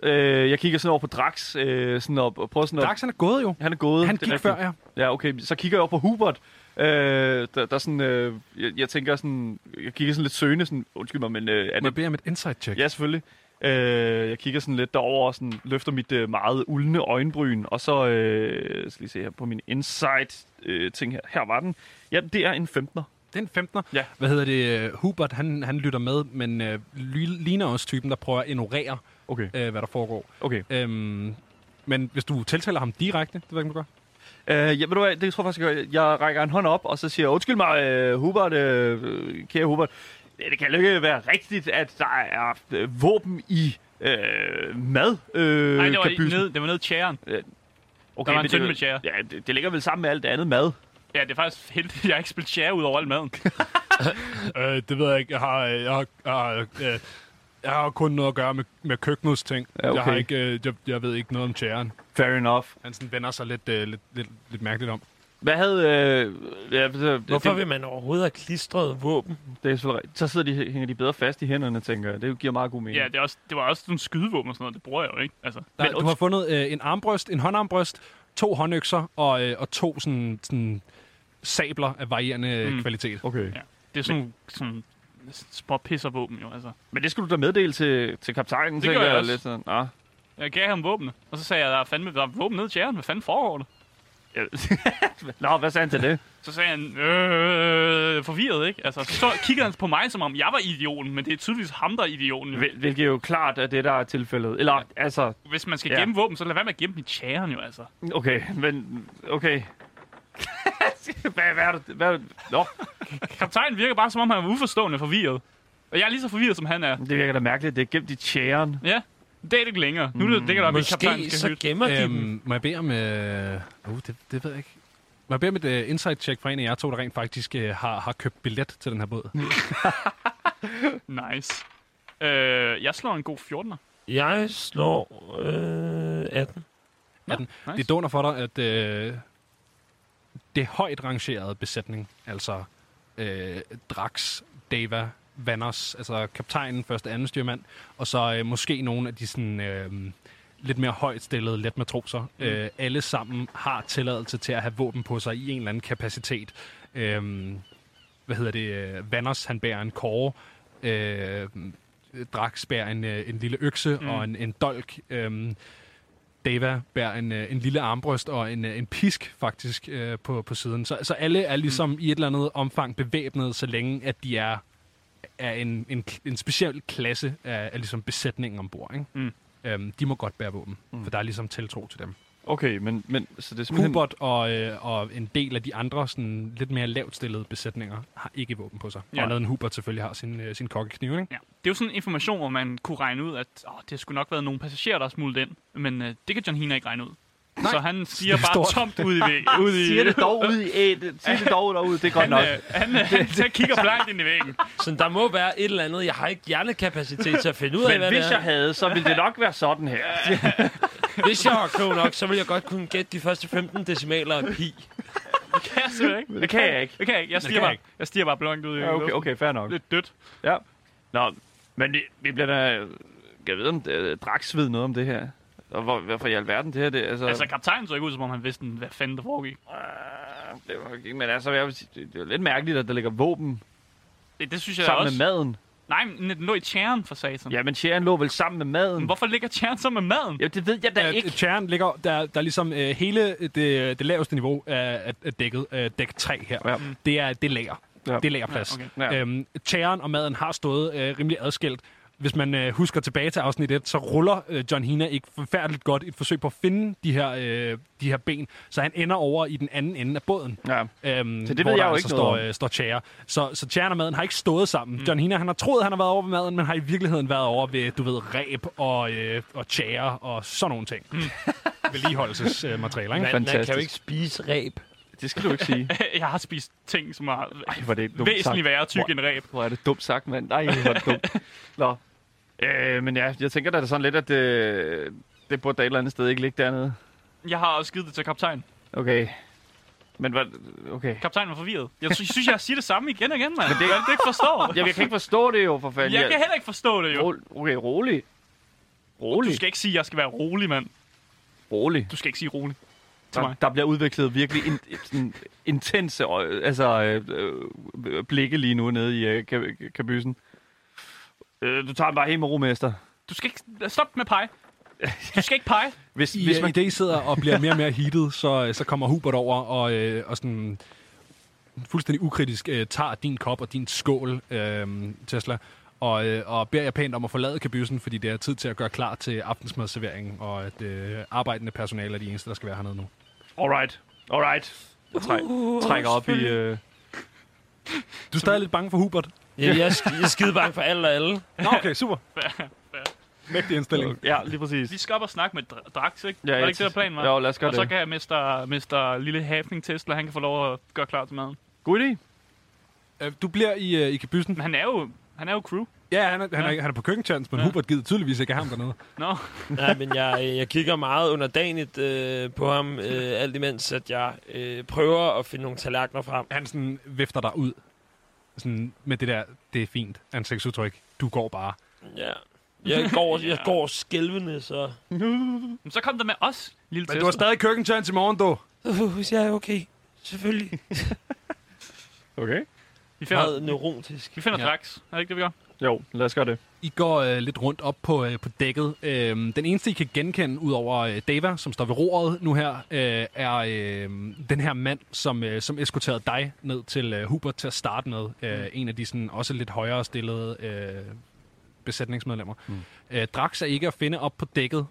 [SPEAKER 2] øh, jeg kigger sådan over på Drax, øh, sådan op, og prøver sådan
[SPEAKER 1] Drax, han er gået jo.
[SPEAKER 2] op. Han er gået.
[SPEAKER 1] Han
[SPEAKER 2] det er
[SPEAKER 1] gik
[SPEAKER 2] rigtigt.
[SPEAKER 1] før jer.
[SPEAKER 2] Ja, okay. Så kigger jeg over på Hubert. Øh, der, der er sådan, øh, jeg, jeg, tænker sådan, jeg kigger sådan lidt søgende, sådan, undskyld mig, men øh, er
[SPEAKER 1] Må
[SPEAKER 2] det...
[SPEAKER 1] jeg bede om et insight check?
[SPEAKER 2] Ja, selvfølgelig. Øh, jeg kigger sådan lidt derover og sådan, løfter mit øh, meget uldne øjenbryn, og så øh, skal lige se her på min insight øh, ting her. Her var den. Ja, det er en 15'er.
[SPEAKER 1] Det er en 15'er.
[SPEAKER 2] Ja.
[SPEAKER 1] Hvad hedder det? øh, Hubert, han, han lytter med, men øh, ly- ligner også typen, der prøver at ignorere,
[SPEAKER 2] Okay,
[SPEAKER 1] øh, hvad der foregår.
[SPEAKER 2] okay.
[SPEAKER 1] Øhm, men hvis du tiltaler ham direkte, det ved jeg ikke, om du gør.
[SPEAKER 2] Øh, ja, ved du hvad, det tror jeg faktisk, jeg, gør. jeg rækker en hånd op, og så siger jeg, undskyld mig, øh, Hubert, øh, kære Hubert, det det kan jo ikke være rigtigt, at der er øh, våben i øh, mad. Øh,
[SPEAKER 3] Nej, det var, ikke
[SPEAKER 2] kabysen."
[SPEAKER 3] ned, det var ned i chairen.
[SPEAKER 2] Okay,
[SPEAKER 3] der var en
[SPEAKER 2] men det-
[SPEAKER 3] tynd med tjære.
[SPEAKER 2] Ja, det, det, ligger vel sammen med alt det andet mad.
[SPEAKER 3] Ja, det er faktisk heldigt, at jeg ikke spillede chair ud over al maden.
[SPEAKER 1] Øh, det ved jeg ikke. Jeg har, jeg har, jeg har, øh, jeg har kun noget at gøre med, med køkkenets ting.
[SPEAKER 2] Ja, okay. Jeg har ikke,
[SPEAKER 1] øh, jeg, jeg ved ikke noget om tjæren.
[SPEAKER 2] Fair enough.
[SPEAKER 1] Han sådan vender sig lidt, øh, lidt, lidt, lidt mærkeligt om.
[SPEAKER 2] Hvad havde... Øh, ja, så,
[SPEAKER 4] Hvorfor
[SPEAKER 2] det,
[SPEAKER 4] vil man overhovedet have klistret våben?
[SPEAKER 2] det, er selvfølgelig rigtigt. Så sidder de, hænger de bedre fast i hænderne, tænker jeg. Det giver meget god mening.
[SPEAKER 3] Ja, det, er også, det var også sådan skydevåben og sådan noget. Det bruger jeg jo ikke. Altså,
[SPEAKER 1] Der,
[SPEAKER 2] Men
[SPEAKER 1] du har fundet øh, en armbrøst, en håndarmbrøst, to håndøkser og, øh, og to sådan, sådan sabler af varierende mm.
[SPEAKER 3] Mm.
[SPEAKER 1] kvalitet.
[SPEAKER 2] Okay.
[SPEAKER 3] ja. det er sådan, sådan små pisservåben jo. Altså.
[SPEAKER 2] Men det skulle du da meddele til, til kaptajnen, det
[SPEAKER 3] gør
[SPEAKER 2] tænker
[SPEAKER 3] jeg
[SPEAKER 2] jeg.
[SPEAKER 3] også.
[SPEAKER 2] Lidt sådan. Ah.
[SPEAKER 3] Jeg gav ham våbnene, og så sagde jeg, der er fandme der er våben ned i chairen. Hvad fanden foregår der?
[SPEAKER 2] Ja. Nå, hvad sagde han til det?
[SPEAKER 3] Så sagde han, øh, forvirret, ikke? Altså, så kiggede han på mig, som om jeg var idioten, men det er tydeligvis ham, der er idioten. Jo.
[SPEAKER 2] Hvil- Hvilket jo klart er det, der er tilfældet. Eller, altså,
[SPEAKER 3] Hvis man skal
[SPEAKER 2] Ja.
[SPEAKER 3] gemme våben, så lad være med at gemme dem i chairen jo, altså.
[SPEAKER 2] okay, men, okay. hvad, hvad er det? Hvad er det? Nå,
[SPEAKER 3] Kaptajnen virker bare, som om han var uforstående forvirret. Og jeg er lige så forvirret, som han er.
[SPEAKER 2] det virker da mærkeligt, det er gemt i tjæren.
[SPEAKER 3] Ja, det er det ikke længere. Nu ligger det der, at kaptajnen
[SPEAKER 4] Måske
[SPEAKER 3] skal
[SPEAKER 4] så
[SPEAKER 3] hytte.
[SPEAKER 4] gemmer de dem.
[SPEAKER 1] Øhm, må jeg bede om... Øh, uh, det, det ved jeg ikke. Må jeg bede om et øh, insight-check fra en af jer to, der rent faktisk øh, har, har købt billet til den her båd?
[SPEAKER 3] Nice. Øh, jeg slår en god 14'er.
[SPEAKER 4] Jeg slår øh, 18.
[SPEAKER 3] Nice.
[SPEAKER 1] Det doner for dig, at øh, det er højt rangerede besætning, altså øh, Drax, Dava, Vanders, altså kaptajnen, første anden styrmand, og så øh, måske nogle af de sådan, øh, lidt mere højt stillede let matroser. Mm. Øh, alle sammen har tilladelse til at have våben på sig i en eller anden kapacitet. Øh, hvad hedder det? øh, Vanders, han bærer en kåre. Øh, Drax bærer en, øh, en lille økse mm. og en, en dolk. Øh, Dava bærer en, øh, en lille armbrøst og en, øh, en pisk faktisk øh, på, på siden. Så, så alle er ligesom mm. i et eller andet omfang bevæbnet, så længe at de er er en, en, en speciel klasse af, af ligesom besætningen ombord. Ikke?
[SPEAKER 3] Mm.
[SPEAKER 1] Øhm, de må godt bære våben, mm. for der er ligesom tiltro til dem.
[SPEAKER 2] Okay, men, men så det er simpelthen...
[SPEAKER 1] Hubert og, øh, og en del af de andre sådan lidt mere lavt stillede besætninger har ikke våben på sig.
[SPEAKER 3] Ja.
[SPEAKER 1] Ja. Og en Hubert selvfølgelig har sin, øh, sin kokkekniv, ikke?
[SPEAKER 3] Ja. Det er jo sådan en information, hvor man kunne regne ud, at åh, det skulle nok været nogle passagerer, der er smuglet ind. Men øh, det kan John Hina ikke regne ud. Nej. Så han siger
[SPEAKER 1] Det er
[SPEAKER 3] bare
[SPEAKER 1] stort.
[SPEAKER 3] tomt ud i... væg- Ud i
[SPEAKER 2] Siger det dog ud i ædet. Siger det dog derude. Det er godt
[SPEAKER 3] han,
[SPEAKER 2] nok.
[SPEAKER 3] øh, han, øh, han, han kigger blankt ind i væggen.
[SPEAKER 4] Så der må være et eller andet. Jeg har ikke hjernekapacitet til at finde ud af,
[SPEAKER 2] Men
[SPEAKER 4] hvad
[SPEAKER 2] hvis
[SPEAKER 4] det er.
[SPEAKER 2] jeg havde, så ville det nok være sådan her.
[SPEAKER 4] Hvis jeg var klog nok, så ville jeg godt kunne gætte de første 15 decimaler af pi.
[SPEAKER 3] Det kan jeg simpelthen ikke.
[SPEAKER 2] Det kan jeg ikke.
[SPEAKER 3] Det kan jeg ikke. Jeg stiger
[SPEAKER 1] kan jeg
[SPEAKER 3] bare, jeg stiger bare blankt ud i
[SPEAKER 2] Ja, okay,
[SPEAKER 3] luften.
[SPEAKER 2] okay, fair nok.
[SPEAKER 3] Lidt dødt.
[SPEAKER 2] Ja. Nå, men det, vi bliver da... Jeg ved, om det, Drax ved noget om det her. Og hvor, hvorfor i alverden det her? Det, altså,
[SPEAKER 3] Altså, kaptajnen så ikke ud, som om han vidste, hvad fanden der foregik.
[SPEAKER 2] øh, det var ikke, men altså, jeg vil sige, det, det er lidt mærkeligt, at der ligger våben
[SPEAKER 3] Det, det synes jeg
[SPEAKER 2] sammen
[SPEAKER 3] også.
[SPEAKER 2] med maden.
[SPEAKER 3] Nej, men den lå i tjæren for satan.
[SPEAKER 2] Ja, men Sharon lå vel sammen med maden.
[SPEAKER 3] Men Hvorfor ligger tjæren så med maden?
[SPEAKER 2] Jamen, det ved jeg da
[SPEAKER 1] Øh,
[SPEAKER 2] ikke.
[SPEAKER 1] Tjern ligger, der, der er ligesom øh, hele det, det laveste niveau af, af- af dækket, øh, dæk 3 her.
[SPEAKER 2] Ja.
[SPEAKER 1] Ja. Det er det er lager.
[SPEAKER 2] Ja.
[SPEAKER 1] Ja. Det er lagerplads.
[SPEAKER 3] Ja,
[SPEAKER 2] okay.
[SPEAKER 1] Ja,
[SPEAKER 2] Ja.
[SPEAKER 1] okay. Øhm, tjæren og maden har stået øh, rimelig adskilt. Hvis man øh, husker tilbage til afsnit 1, så ruller øh, John Hina ikke forfærdeligt godt i et forsøg på at finde de her, øh, de her ben, så han ender over i den anden ende af båden.
[SPEAKER 2] Ja.
[SPEAKER 1] Øhm,
[SPEAKER 2] Så det ved
[SPEAKER 1] hvor
[SPEAKER 2] jeg
[SPEAKER 1] der
[SPEAKER 2] jo
[SPEAKER 1] altså
[SPEAKER 2] ikke
[SPEAKER 1] står,
[SPEAKER 2] noget om.
[SPEAKER 1] øh, står tjære. Så, så tjæren og maden har ikke stået sammen. Mm. John Hina, han har troet, han har været over ved maden, men har i virkeligheden været over ved, du ved, ræb og, øh, og tjære og sådan nogle ting. Mm. Vedligeholdelsesmaterialer, øh, ikke?
[SPEAKER 4] Man, man kan jo
[SPEAKER 2] Fantastisk.
[SPEAKER 4] ikke spise ræb.
[SPEAKER 2] Det skal du ikke sige.
[SPEAKER 3] jeg har spist ting, som er
[SPEAKER 2] Ej, hvor er det dumt sagt.
[SPEAKER 3] væsentligt værre tyk end ræb.
[SPEAKER 2] Hvor er det dumt sagt, mand. Nej, hvor er det dumt. Nå. Øh, men ja, jeg tænker da det sådan lidt, at det, det burde da et eller andet sted ikke ligge dernede.
[SPEAKER 3] Jeg har også givet det til kaptajnen.
[SPEAKER 2] Okay. Men hvad... Okay.
[SPEAKER 3] Kaptajnen var forvirret. Jeg sy- synes, jeg siger det samme igen og igen, mand. Det... Jeg kan ikke forstå.
[SPEAKER 2] Jamen, jeg kan ikke forstå det jo, for fanden.
[SPEAKER 3] jeg kan heller ikke forstå det, jo.
[SPEAKER 2] Ro- Okay, rolig.
[SPEAKER 3] Du
[SPEAKER 2] Rolig.
[SPEAKER 3] skal ikke sige, at jeg skal være rolig, mand.
[SPEAKER 2] Rolig.
[SPEAKER 3] Du skal ikke sige rolig. til
[SPEAKER 2] Der,
[SPEAKER 3] mig.
[SPEAKER 2] der bliver udviklet virkelig in, sådan, intense øje- altså, øh, øh, blikke lige nu nede i øh, ka- kabysen. Øh, du tager den bare helt med romester.
[SPEAKER 3] Du skal ikke... Stop med at pege. Du skal ikke pege.
[SPEAKER 2] Hvis,
[SPEAKER 1] I,
[SPEAKER 2] hvis man,
[SPEAKER 1] I det, I sidder og bliver mere og mere heated, så, så kommer Hubert over og, øh, og sådan fuldstændig ukritisk øh, tager din kop og din skål, øh, Tesla, og, øh, og beder jer pænt om at forlade kabysen, fordi det er tid til at gøre klar til aftensmadserveringen, og at øh, arbejdende personale er de eneste, der skal være hernede nu.
[SPEAKER 2] Alright. Alright. Jeg træ,
[SPEAKER 3] Uh,
[SPEAKER 2] trækker op i... Øh,
[SPEAKER 1] Du er stadig lidt bange for Hubert?
[SPEAKER 4] Ja, jeg, er sk- jeg er skide bange for alle og alle.
[SPEAKER 1] Nå, okay, super. Mægtig indstilling.
[SPEAKER 2] ja, lige præcis.
[SPEAKER 3] Vi skal op og snakke med Dra- Drax, ikke?
[SPEAKER 2] Ja,
[SPEAKER 3] var
[SPEAKER 2] ja,
[SPEAKER 3] det ikke det, der planen var?
[SPEAKER 2] Jo, lad os gøre
[SPEAKER 3] og så
[SPEAKER 2] det.
[SPEAKER 3] kan jeg Mr. Mr. Lille Happening Tesla, han kan få lov at gøre klar til maden.
[SPEAKER 2] God idé.
[SPEAKER 1] Øh, Du bliver i, øh, i kabysen.
[SPEAKER 3] Men han er jo, han er jo crew.
[SPEAKER 1] Ja, han er, han
[SPEAKER 3] Ja.
[SPEAKER 1] er, han er på køkkentjans, men Hubert gider tydeligvis ikke have ham dernede.
[SPEAKER 3] Nå,
[SPEAKER 4] Nej, men jeg, øh, jeg kigger meget underdanigt øh, på ham, øh, alt imens at jeg øh, prøver at finde nogle tallerkener frem.
[SPEAKER 1] han sådan vifter dig ud sådan med det der, det er fint ansigtsudtryk. Du går bare.
[SPEAKER 4] Ja. Jeg går, jeg går skælvende, så...
[SPEAKER 3] men så kom der med os, Lille
[SPEAKER 1] Men
[SPEAKER 3] Tesla.
[SPEAKER 1] du har stadig køkkentjans i morgen, du.
[SPEAKER 4] Uh, ja, okay. Selvfølgelig.
[SPEAKER 2] Okay.
[SPEAKER 3] Vi finder,
[SPEAKER 4] Meget neurotisk.
[SPEAKER 3] vi finder
[SPEAKER 1] Ja.
[SPEAKER 3] Drax. Er det ikke det, vi gør?
[SPEAKER 2] Jo, lad os gøre det.
[SPEAKER 1] I går øh, lidt rundt op på, øh, på dækket. Øhm, den eneste, I kan genkende, ud over øh, Dava, som står ved roret nu her, øh, er øh, den her mand, som, øh, som eskorterede dig ned til øh, Hubert til at starte med. Øh, En af de sådan, også lidt højere stillede øh, besætningsmedlemmer. Mm. Øh, Drax er ikke at finde op på dækket,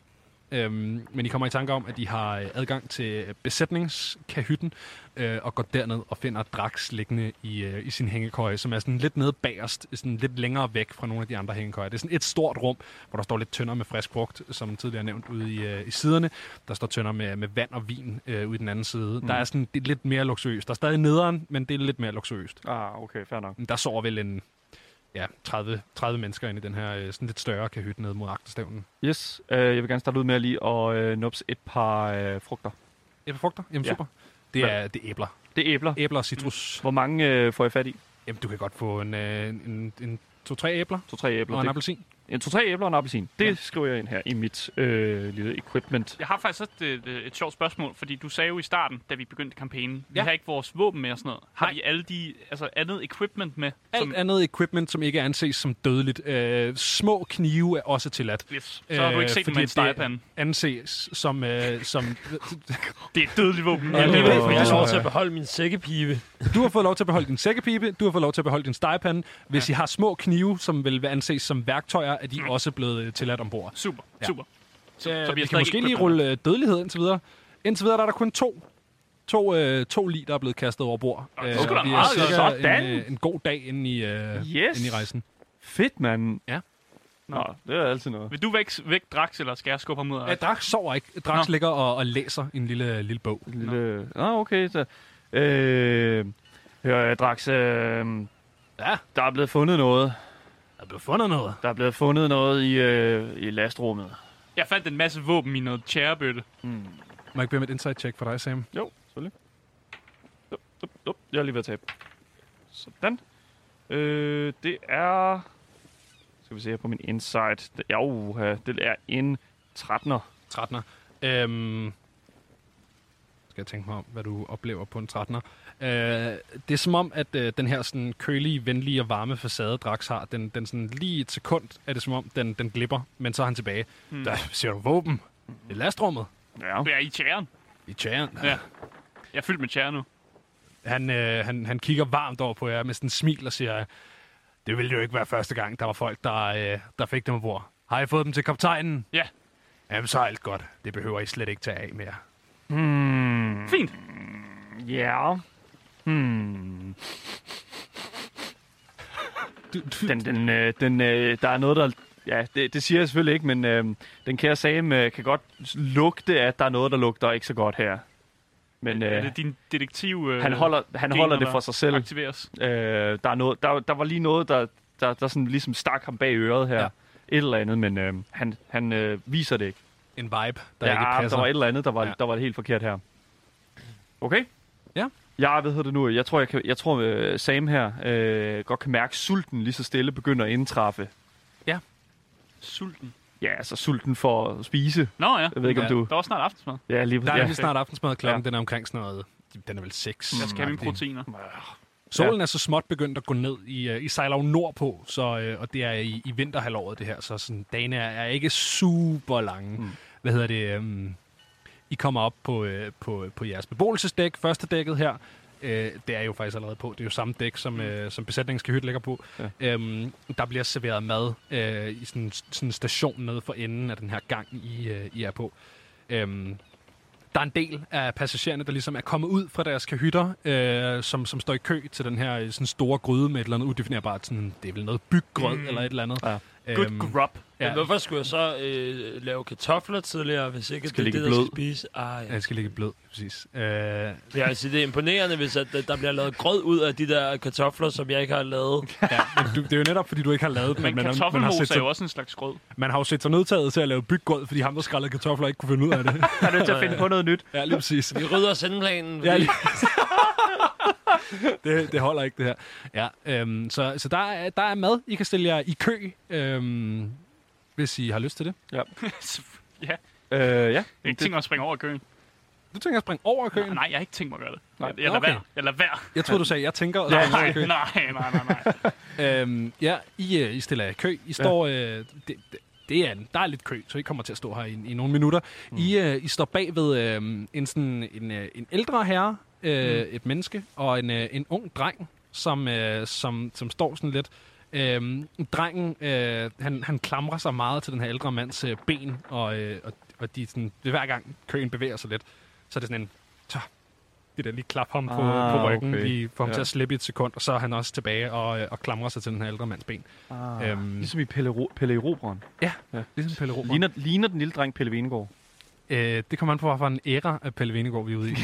[SPEAKER 1] øhm, men I kommer i tanke om, at I har øh, adgang til besætningskahytten, øh, og går derned og finder Drax liggende i, øh, i sin hængekøje, som er sådan lidt nede bagerst, sådan lidt længere væk fra nogle af de andre hængekøjer. Det er sådan et stort rum, hvor der står lidt tønder med frisk frugt, som tidligere nævnt ude i, øh, i siderne. Der står tønder med, med vand og vin øh, ude i den anden side. Mm. Der er sådan det er lidt mere luksuriøst. Der er stadig nederen, men det er lidt mere luksuriøst.
[SPEAKER 2] Ah, okay, fair nok.
[SPEAKER 1] Der sover vel en ja, 30, 30 mennesker inde i den her øh, sådan lidt større kahyt nede mod agterstævnen.
[SPEAKER 2] Yes, øh, jeg vil gerne starte ud med at lige og øh, nupse et par øh, frugter.
[SPEAKER 1] Æblefrugter? Jamen ja.
[SPEAKER 2] Ja.
[SPEAKER 1] super. Det er, det er æbler.
[SPEAKER 2] Det er æbler.
[SPEAKER 1] Æbler og citrus.
[SPEAKER 2] Hvor mange øh, får jeg fat i?
[SPEAKER 1] Jamen, du kan godt få en, øh, en, en, en to-tre æbler
[SPEAKER 2] To-tre æbler.
[SPEAKER 1] og en
[SPEAKER 2] Det,
[SPEAKER 1] appelsin.
[SPEAKER 2] En to-tre æbler og en appelsin. Det ja. skriver jeg ind her i mit øh, lille equipment.
[SPEAKER 3] Jeg har faktisk også et, øh, et, et sjovt spørgsmål, fordi du sagde jo i starten, da vi begyndte kampagnen, vi
[SPEAKER 1] Ja.
[SPEAKER 3] har ikke vores våben med og sådan noget. Har
[SPEAKER 1] Nej.
[SPEAKER 3] vi alle de, altså andet equipment med?
[SPEAKER 1] Alt andet equipment, som ikke anses som dødeligt. Øh, små knive er også tilladt.
[SPEAKER 3] yes. Så har du ikke
[SPEAKER 1] Øh,
[SPEAKER 3] set dem
[SPEAKER 1] fordi
[SPEAKER 3] med
[SPEAKER 1] det er-
[SPEAKER 3] en stegepande.
[SPEAKER 1] Anses som... Øh, som
[SPEAKER 3] Det er et dødeligt våben.
[SPEAKER 4] Jeg
[SPEAKER 1] det
[SPEAKER 4] er
[SPEAKER 1] ved
[SPEAKER 4] ved,
[SPEAKER 1] jeg,
[SPEAKER 4] for jeg
[SPEAKER 1] fordi-
[SPEAKER 4] har lov til at beholde min sækkepibe.
[SPEAKER 1] du har fået lov til at beholde din sækkepibe, du har fået lov til at beholde din stegepande. Hvis ja. I har små knive, som vil anses som værktøjer, er de også blevet øh, tilladt ombord.
[SPEAKER 3] Super,
[SPEAKER 1] Ja.
[SPEAKER 3] super. Så,
[SPEAKER 1] Øh,
[SPEAKER 3] så vi
[SPEAKER 1] vi
[SPEAKER 3] har
[SPEAKER 1] kan
[SPEAKER 3] stadig
[SPEAKER 1] måske
[SPEAKER 3] ikke
[SPEAKER 1] lige
[SPEAKER 3] equipment.
[SPEAKER 1] rulle øh, dødelighed indtil videre. Indtil videre der er der kun to, to, øh, to lig, der er blevet kastet over bord. Øh,
[SPEAKER 3] det er sgu da
[SPEAKER 1] vi
[SPEAKER 3] meget
[SPEAKER 1] cirka
[SPEAKER 2] godt. Sådan.
[SPEAKER 1] En, øh, en god dag inde i, øh,
[SPEAKER 2] Yes.
[SPEAKER 1] inde i rejsen.
[SPEAKER 2] Fedt, mand.
[SPEAKER 1] Ja.
[SPEAKER 2] Nå, det er altid noget.
[SPEAKER 3] Vil du væk, væk Drax, eller skal jeg skubbe ham ud?
[SPEAKER 1] Ja,
[SPEAKER 3] af-
[SPEAKER 1] Øh, Drax sover ikke. Drax
[SPEAKER 3] Nå.
[SPEAKER 1] ligger og, og læser en lille, lille bog.
[SPEAKER 2] En Lille... Nå, ah, okay. Så, øh, hør, øh, Drax. Øh,
[SPEAKER 1] Ja.
[SPEAKER 2] Der er blevet fundet noget.
[SPEAKER 1] Der er blevet fundet noget.
[SPEAKER 2] Der er blevet fundet noget i, øh, i lastrummet.
[SPEAKER 3] Jeg fandt en masse våben i noget tjærebøtte.
[SPEAKER 1] Må jeg ikke bede om et insight check for dig, Sam?
[SPEAKER 2] Jo, selvfølgelig. Up, up, up. Jeg er lige ved at tabe. Sådan. Øh, det er... Skal vi se her på min insight. Det, ja, uha, det er en 13'er.
[SPEAKER 1] 13'er. Øhm, skal jeg tænke mig om, hvad du oplever på en 13'er. Øh, det er som om, at øh, den her sådan, kølige, venlige og varme facade, Drax har, den, den sådan, lige et sekund er det som om, den, den glipper, men så er han tilbage. Mm.
[SPEAKER 2] Hmm.
[SPEAKER 1] Der ser du våben. Det er lastrummet.
[SPEAKER 2] Ja.
[SPEAKER 3] Du er i tjæren.
[SPEAKER 1] I tjæren.
[SPEAKER 3] Ja. Jeg er fyldt med tjære nu.
[SPEAKER 1] Han, øh, han, han kigger varmt over på jer med sådan en smil og siger, det ville jo ikke være første gang, der var folk, der, øh, der fik dem ombord. Har I fået dem til kaptajnen?
[SPEAKER 3] Ja.
[SPEAKER 1] Jamen, så er alt godt. Det behøver I slet ikke tage af mere.
[SPEAKER 2] Hmm.
[SPEAKER 3] Fint.
[SPEAKER 2] Ja. Hmm.
[SPEAKER 1] Du, du,
[SPEAKER 2] Den, den, øh, den, øh, der er noget, der... Ja, det, det siger jeg selvfølgelig ikke, men øh, den kære Sam øh, kan godt lugte, at der er noget, der lugter ikke så godt her. Men
[SPEAKER 3] Er
[SPEAKER 2] øh,
[SPEAKER 3] det din detektiv... Øh,
[SPEAKER 2] han holder, han
[SPEAKER 3] gener,
[SPEAKER 2] holder det
[SPEAKER 3] der
[SPEAKER 2] for sig selv.
[SPEAKER 3] Aktiveres.
[SPEAKER 2] Øh, der, er noget, der, der var lige noget, der, der, der sådan ligesom stak ham bag øret her.
[SPEAKER 1] Ja.
[SPEAKER 2] Ja. Et eller andet, men øh, han, han øh, viser det ikke.
[SPEAKER 1] en vibe, der
[SPEAKER 2] Der,
[SPEAKER 1] ikke
[SPEAKER 2] ja,
[SPEAKER 1] passer.
[SPEAKER 2] der var et eller andet, der var,
[SPEAKER 1] Ja.
[SPEAKER 2] ja. der var helt forkert her. Okay?
[SPEAKER 1] Ja.
[SPEAKER 2] Ja, hvad hedder det nu? Jeg tror, jeg kan, jeg tror øh, Sam her øh, godt kan mærke, at sulten lige så stille begynder at indtræffe.
[SPEAKER 3] Sulten.
[SPEAKER 2] Ja, altså sulten for at spise.
[SPEAKER 3] Nå ja.
[SPEAKER 2] Jeg ved ikke,
[SPEAKER 1] Ja.
[SPEAKER 2] om du...
[SPEAKER 3] Der var snart aftensmad.
[SPEAKER 2] Ja, lige
[SPEAKER 1] Der er
[SPEAKER 2] ja.
[SPEAKER 1] nemlig snart aftensmad. Klokken ja.
[SPEAKER 2] Ja.
[SPEAKER 1] den er omkring sådan noget... Den er vel 6.
[SPEAKER 3] Jeg skal have mine proteiner.
[SPEAKER 1] Solen er så småt begyndt at gå ned. I, øh, I sejler jo nordpå, så, øh, og det er i, i vinterhalvåret det her, så sådan, dagene er, er ikke super lange. Mm. Hvad hedder det? øhm, I kommer op på, øh, på, på jeres beboelsesdæk, første dækket her. Øh, det er jo faktisk allerede på. Det er jo samme dæk, som, øh, som besætningen skal hytte ligger på. Ja.
[SPEAKER 2] Ja.
[SPEAKER 1] Øhm, der bliver serveret mad øh, i sådan sådan en station nede for enden af den her gang, I, øh, I er på. Øhm, der er en del af passagererne, der ligesom er kommet ud fra deres kahytter, øh, som, som står i kø til den her øh, sådan store gryde med et eller andet udefinerbart. Sådan, det er vel noget byggrød mm. eller et eller andet. Øhm,
[SPEAKER 2] Ja.
[SPEAKER 3] Good grub.
[SPEAKER 1] ja,
[SPEAKER 4] Ja. Hvorfor skulle jeg så øh, lave kartofler tidligere, hvis ikke
[SPEAKER 2] Skal
[SPEAKER 4] det er
[SPEAKER 2] ligge
[SPEAKER 4] det, der
[SPEAKER 2] blød.
[SPEAKER 4] skal spise? Ah,
[SPEAKER 1] ja,
[SPEAKER 4] ja.
[SPEAKER 1] jeg skal ligge blød, præcis. Øh,
[SPEAKER 4] Jeg vil sige, altså, det er imponerende, hvis at, øh, der bliver lavet grød ud af de der kartofler, som jeg ikke har lavet.
[SPEAKER 1] ja, men du, det er jo netop, fordi du ikke har lavet dem.
[SPEAKER 3] Men
[SPEAKER 1] man, har- man, har set
[SPEAKER 3] kartoffelmos er
[SPEAKER 1] sig,
[SPEAKER 3] jo også en slags grød.
[SPEAKER 1] man har jo set sig nødtaget til at lave byggrød, fordi ham, der skrællede kartofler, ikke kunne finde ud af det.
[SPEAKER 2] Han er nødt til at finde på noget nyt.
[SPEAKER 1] ja, lige præcis.
[SPEAKER 4] Vi rydder sendplanen.
[SPEAKER 1] Ja, lige. det, det holder ikke, det her. Ja, øhm, så så der, er, der er mad. I kan stille jer i kø, øhm, hvis I har lyst til det.
[SPEAKER 3] ja.
[SPEAKER 2] Øh, ja.
[SPEAKER 3] Jeg har ikke tænkt mig at springe over køen.
[SPEAKER 1] Du tænker at springe over køen?
[SPEAKER 3] Nej, jeg har ikke tænkt mig at gøre det.
[SPEAKER 2] Nej.
[SPEAKER 3] Jeg, jeg lader
[SPEAKER 1] Okay.
[SPEAKER 3] være. Jeg lader være.
[SPEAKER 1] Jeg tror du sagde, jeg tænker at
[SPEAKER 3] Nej,
[SPEAKER 1] springe over
[SPEAKER 3] nej,
[SPEAKER 1] køen.
[SPEAKER 3] nej, nej, nej.
[SPEAKER 1] Øhm, ja, I, øh, I stiller jer i kø. I står... Øh, det, det, det er en, der er lidt kø, så I kommer til at stå her i, i nogle minutter. Mm. I, øh, I står bag ved øh, en, sådan, en, øh, en ældre herre, øh, mm. et menneske, og en, øh, en ung dreng, som, øh, som, som står sådan lidt... Øhm, drengen, øh, han, han klamrer sig meget til den her ældre mands øh, ben, og, øh, og, og de, sådan, hver gang køen bevæger sig lidt, så er det sådan en... Så, det der lige klap ham på,
[SPEAKER 2] Ah,
[SPEAKER 1] på ryggen, okay.
[SPEAKER 2] okay.
[SPEAKER 1] lige får ham ja.
[SPEAKER 2] Ja.
[SPEAKER 1] til at slippe i et sekund, og så er han også tilbage og, øh, og klamrer sig til den her ældre mands ben.
[SPEAKER 2] Ah,
[SPEAKER 1] Øhm.
[SPEAKER 2] Ligesom i Pelle, Ro- Pelle i Robron.
[SPEAKER 1] Ligesom Pelle Robert.
[SPEAKER 2] Ligner, ligner den lille dreng Pelle Venegård?
[SPEAKER 1] Øh, det kommer an på, hvorfor en æra af Pelle Venegård vi er ude i.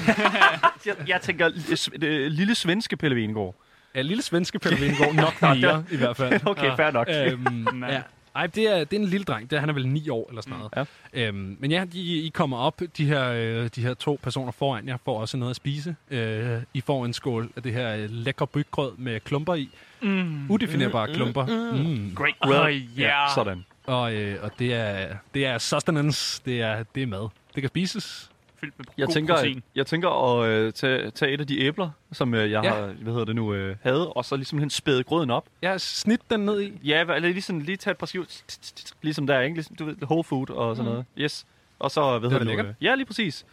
[SPEAKER 2] Jeg, jeg tænker l- s- øh, lille svenske Pelle Venegård.
[SPEAKER 1] Ja, lille svenske Pelle Venegård, nok mere i hvert fald.
[SPEAKER 2] Okay, fair nok.
[SPEAKER 1] Øhm, ja. Ej, det er, det er en lille dreng. Det er, han er vel ni år eller sådan noget. Øhm, men ja, de, I kommer op. De her, øh, de her to personer foran jer får også noget at spise. Øh, I får en skål af det her øh, lækre byggrød med klumper i.
[SPEAKER 3] Mm.
[SPEAKER 1] uh, Udefinerbare klumper. Mm.
[SPEAKER 3] Great
[SPEAKER 2] Well,
[SPEAKER 3] grub. Oh, yeah.
[SPEAKER 2] Sådan.
[SPEAKER 1] og, øh, og det, er, det er sustenance, det er, det er mad. Det kan spises.
[SPEAKER 3] Fyldt med
[SPEAKER 2] Jeg
[SPEAKER 3] god
[SPEAKER 2] tænker, at,
[SPEAKER 3] protein.
[SPEAKER 2] jeg tænker at øh, tage, tage et af de æbler, som øh, jeg
[SPEAKER 1] Ja.
[SPEAKER 2] ja. har, hvad hedder det nu, øh, havde, og så ligesom hen spæde grøden op.
[SPEAKER 1] Jeg har snit den ned i.
[SPEAKER 2] Ja, hva- eller lige, sådan, lige tage et par skiver, t- t- t- t- ligesom der, ikke? Ligesom, du ved, whole food og sådan noget. Yes. Og så, hvad hedder det,
[SPEAKER 1] lækkert.
[SPEAKER 2] nu, øh, Ja, lige præcis.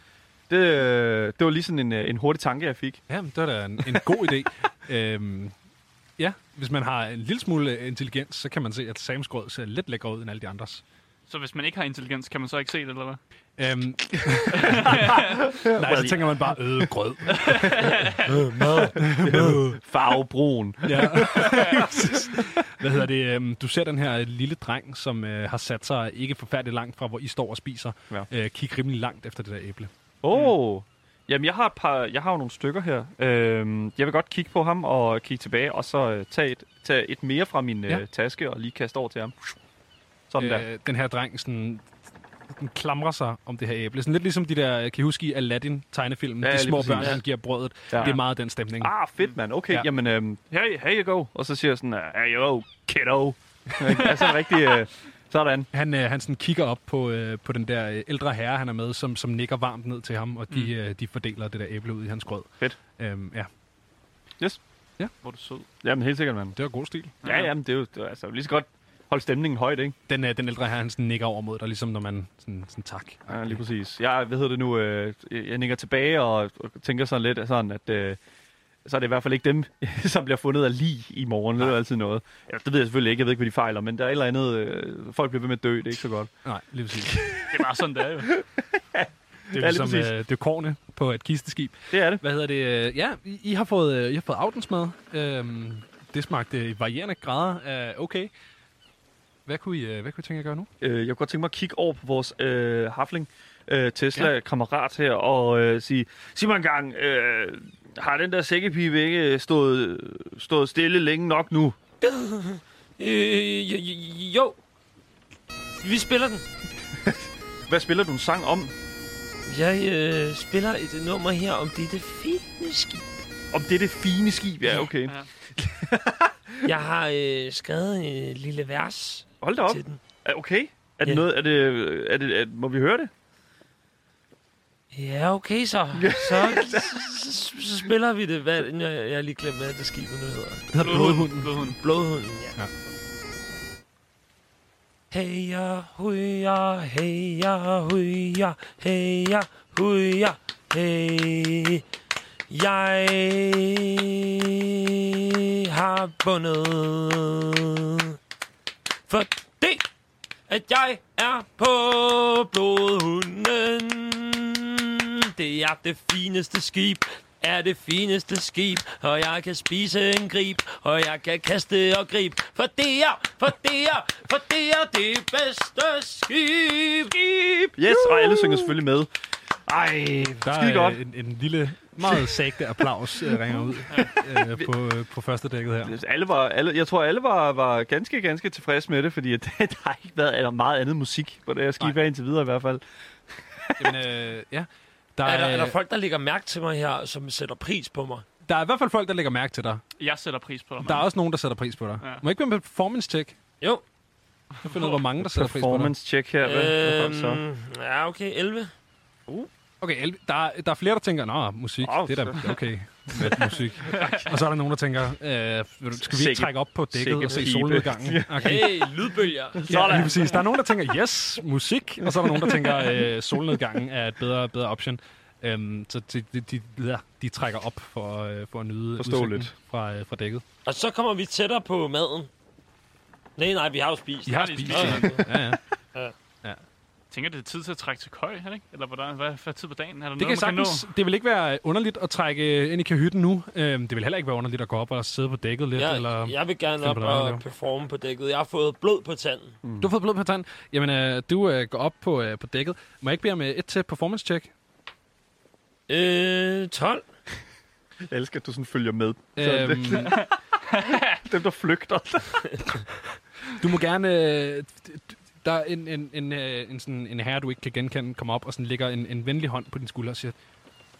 [SPEAKER 2] Det, øh, det var lige sådan en, øh, en hurtig tanke, jeg fik.
[SPEAKER 1] Jamen, det er da en, en god idé. øhm, ja, hvis man har en lille smule øh, intelligens, så kan man se, at Sams grød ser lidt lækker ud end alle de andres.
[SPEAKER 3] Så hvis man ikke har intelligens, kan man så ikke se det, eller hvad?
[SPEAKER 1] Øhm. Nej, så tænker man bare, øh, grød. øh, mad.
[SPEAKER 2] Farvebrun.
[SPEAKER 1] Ja. Præcis. Hvad hedder det? øhm, Du ser den her lille dreng, som øh, har sat sig ikke forfærdeligt langt fra, hvor I står og spiser.
[SPEAKER 2] Ja.
[SPEAKER 1] Øh, Kig rimelig langt efter det der æble.
[SPEAKER 2] Åh! Oh. Jamen, jeg har, et par, jeg har jo nogle stykker her. Øhm, jeg vil godt kigge på ham og kigge tilbage, og så øh, tage, et, tage et mere fra min
[SPEAKER 1] Ja.
[SPEAKER 2] øh, taske og lige kaste over til ham. Sådan øh, der.
[SPEAKER 1] Øh, den her dreng sådan, den klamrer sig om det her æble. Sådan lidt ligesom de der, kan I huske i Aladdin-tegnefilmen?
[SPEAKER 2] Ja,
[SPEAKER 1] Ja, de
[SPEAKER 2] lige
[SPEAKER 1] små
[SPEAKER 2] præcis.
[SPEAKER 1] børn,
[SPEAKER 2] Ja.
[SPEAKER 1] han giver brødet.
[SPEAKER 2] Ja.
[SPEAKER 1] Ja. Det er meget den stemning.
[SPEAKER 2] Ah, fedt, mand. Okay,
[SPEAKER 1] Ja.
[SPEAKER 2] ja. jamen, øhm, hey, hey you go. Og så siger jeg sådan, øh, hey yo, kiddo. altså rigtig, øh, sådan.
[SPEAKER 1] Han, øh, han sådan kigger op på, øh, på den der øh, ældre herre, han er med, som, som nikker varmt ned til ham, og de, mm. øh, de fordeler det der æble ud i hans grød.
[SPEAKER 2] Fedt.
[SPEAKER 1] Øhm, ja,
[SPEAKER 3] Hvor er du sød.
[SPEAKER 2] Jamen, helt sikkert, mand.
[SPEAKER 1] det var god stil.
[SPEAKER 2] Ja, jamen, det er jo det er, altså, lige så godt holde stemningen højt, ikke?
[SPEAKER 1] Den, øh, den ældre herre, han sådan nikker over mod dig, ligesom når man sådan, sådan tak.
[SPEAKER 2] Ja, lige præcis. Jeg, hvad hedder det nu, øh, jeg nikker tilbage og, og tænker sådan lidt sådan, at øh, så er det i hvert fald ikke dem, som bliver fundet af lige i morgen. Det er jo altid noget. Ja, det ved jeg selvfølgelig ikke. Jeg ved ikke, hvad de fejler, men der er et eller andet. Øh, folk bliver ved med at dø. Det er ikke så godt.
[SPEAKER 1] Nej, lige præcis. Det
[SPEAKER 3] Det er bare sådan, det er jo.
[SPEAKER 1] er,
[SPEAKER 2] lige
[SPEAKER 1] ligesom, øh,
[SPEAKER 2] præcis.
[SPEAKER 1] det er korne på et kisteskib.
[SPEAKER 2] Det er det.
[SPEAKER 1] Hvad hedder det? øh, Ja, I, I har fået, øh, I har fået aftensmad. Øhm, det smagte i varierende grader af okay. Hvad kunne, I, øh, hvad kunne I tænke jer at gøre nu?
[SPEAKER 2] Øh, jeg kunne godt tænke mig at kigge over på vores øh, hafling, øh,
[SPEAKER 1] Ja.
[SPEAKER 2] Tesla-kammerat her, og øh, sige, sig mig engang, øh, har den der sækkepibe ikke stået, stået stille længe nok nu?
[SPEAKER 4] Øh, jo, jo- jo. Vi spiller den.
[SPEAKER 2] Hvad spiller du en sang om?
[SPEAKER 4] Jeg øh, spiller et nummer her om dette fine skib.
[SPEAKER 2] Om det er det fine skib? Ja, okay.
[SPEAKER 3] Ja.
[SPEAKER 4] Jeg har øh, skrevet et lille vers
[SPEAKER 2] Hold da op.
[SPEAKER 4] til den.
[SPEAKER 2] Er- Okay. Er det
[SPEAKER 4] Ja.
[SPEAKER 2] noget, er det, er det, er, må vi høre det?
[SPEAKER 4] Ja, okay så. Så, så, så, så spiller vi det. Hvad, jeg, jeg har lige glemt, hvad det skibet nu hedder.
[SPEAKER 1] Det hedder
[SPEAKER 3] Blodhunden. Blodhunden.
[SPEAKER 4] Blodhunden, ja.
[SPEAKER 1] Ja.
[SPEAKER 4] ja. Heja, huja, heja, huja, heja, huja, hey. Jeg har vundet, fordi at jeg er på blodhunden. Det er det fineste skib, er det fineste skib, og jeg kan spise en grib, og jeg kan kaste og grib, for det er, for det er, for det er det bedste skib. skib.
[SPEAKER 2] Yes, og alle synger selvfølgelig med. Ej,
[SPEAKER 1] Der
[SPEAKER 2] skide
[SPEAKER 1] er
[SPEAKER 2] godt.
[SPEAKER 1] øh, en, en lille, meget sagte applaus, øh, ringer ud øh, på, øh, på første dækket her.
[SPEAKER 2] Alle var, alle, jeg tror, alle var, var ganske, ganske tilfredse med det, fordi at, der har ikke været eller meget andet musik på det her skib
[SPEAKER 1] Nej.
[SPEAKER 2] her indtil videre i hvert fald.
[SPEAKER 1] Jamen, øh, ja. Der
[SPEAKER 4] Er der, er
[SPEAKER 1] er,
[SPEAKER 4] der folk, der lægger mærke til mig her, som sætter pris på mig?
[SPEAKER 1] der er i hvert fald folk, der lægger mærke til dig.
[SPEAKER 3] Jeg sætter pris på dig,
[SPEAKER 1] Der er
[SPEAKER 3] mand.
[SPEAKER 1] også nogen, der sætter pris på dig.
[SPEAKER 3] Ja.
[SPEAKER 1] Ja. Må jeg ikke være med performance check?
[SPEAKER 4] Jo.
[SPEAKER 1] Jeg finder ud af, hvor mange, der sætter pris på dig.
[SPEAKER 2] Performance check her. Hvad? Hvad folk så?
[SPEAKER 4] Øhm, ja, okay, 11.
[SPEAKER 1] Okay, Elvi- der, er- der er flere, der tænker, nå, musik,
[SPEAKER 2] Åh,
[SPEAKER 1] det er da okay med musik. Og så er der nogen, der tænker, øh, ved du, skal vi
[SPEAKER 2] Sikke-
[SPEAKER 1] ikke trække op på dækket
[SPEAKER 2] sikke
[SPEAKER 1] og se
[SPEAKER 2] pibe."
[SPEAKER 1] solnedgangen? Okay.
[SPEAKER 4] Hey, lydbølger.
[SPEAKER 1] Ja, lige præcis. Der er nogen, der tænker, yes, musik, og så er der nogen, der tænker, øh, solnedgangen er et bedre, bedre option. Øhm, så de, de, de, ja, de trækker op for, øh, for at nyde
[SPEAKER 2] Forståeligt.
[SPEAKER 1] udsigten fra, øh, fra dækket.
[SPEAKER 4] Og så kommer vi tættere på maden. Nej, nej, vi har jo spist.
[SPEAKER 1] De har
[SPEAKER 3] de
[SPEAKER 1] spist.
[SPEAKER 3] spist.
[SPEAKER 1] ja. Ja, ja.
[SPEAKER 3] Jeg tænker, det er tid til at trække til køj, er det ikke? Eller hvordan, hvad, hvad tid på dagen? Er der
[SPEAKER 1] Det kan
[SPEAKER 3] noget, man
[SPEAKER 1] sagtens. Det vil ikke være underligt at trække ind i kahytten nu. Øhm, det vil heller ikke være underligt at gå op og sidde på dækket lidt.
[SPEAKER 4] Jeg,
[SPEAKER 1] eller...
[SPEAKER 4] jeg vil gerne
[SPEAKER 1] finde
[SPEAKER 4] op
[SPEAKER 1] på noget andet,
[SPEAKER 4] og
[SPEAKER 1] jo.
[SPEAKER 4] performe på dækket. Jeg har fået blod på tanden.
[SPEAKER 1] Du har fået blod på tanden. Jamen, øh, du øh, går op på, øh, på dækket. Må jeg ikke bede om øh, et til performance check?
[SPEAKER 4] Øh, 12.
[SPEAKER 2] Jeg elsker, at du sådan følger med. Så øhm.
[SPEAKER 1] Øhm,
[SPEAKER 2] det, dem, der flygter.
[SPEAKER 1] du må gerne... Øh, d- d- der er en, en, en, øh, en, sådan, en herre, du ikke kan genkende, kommer op og sådan lægger en, en venlig hånd på din skulder og siger,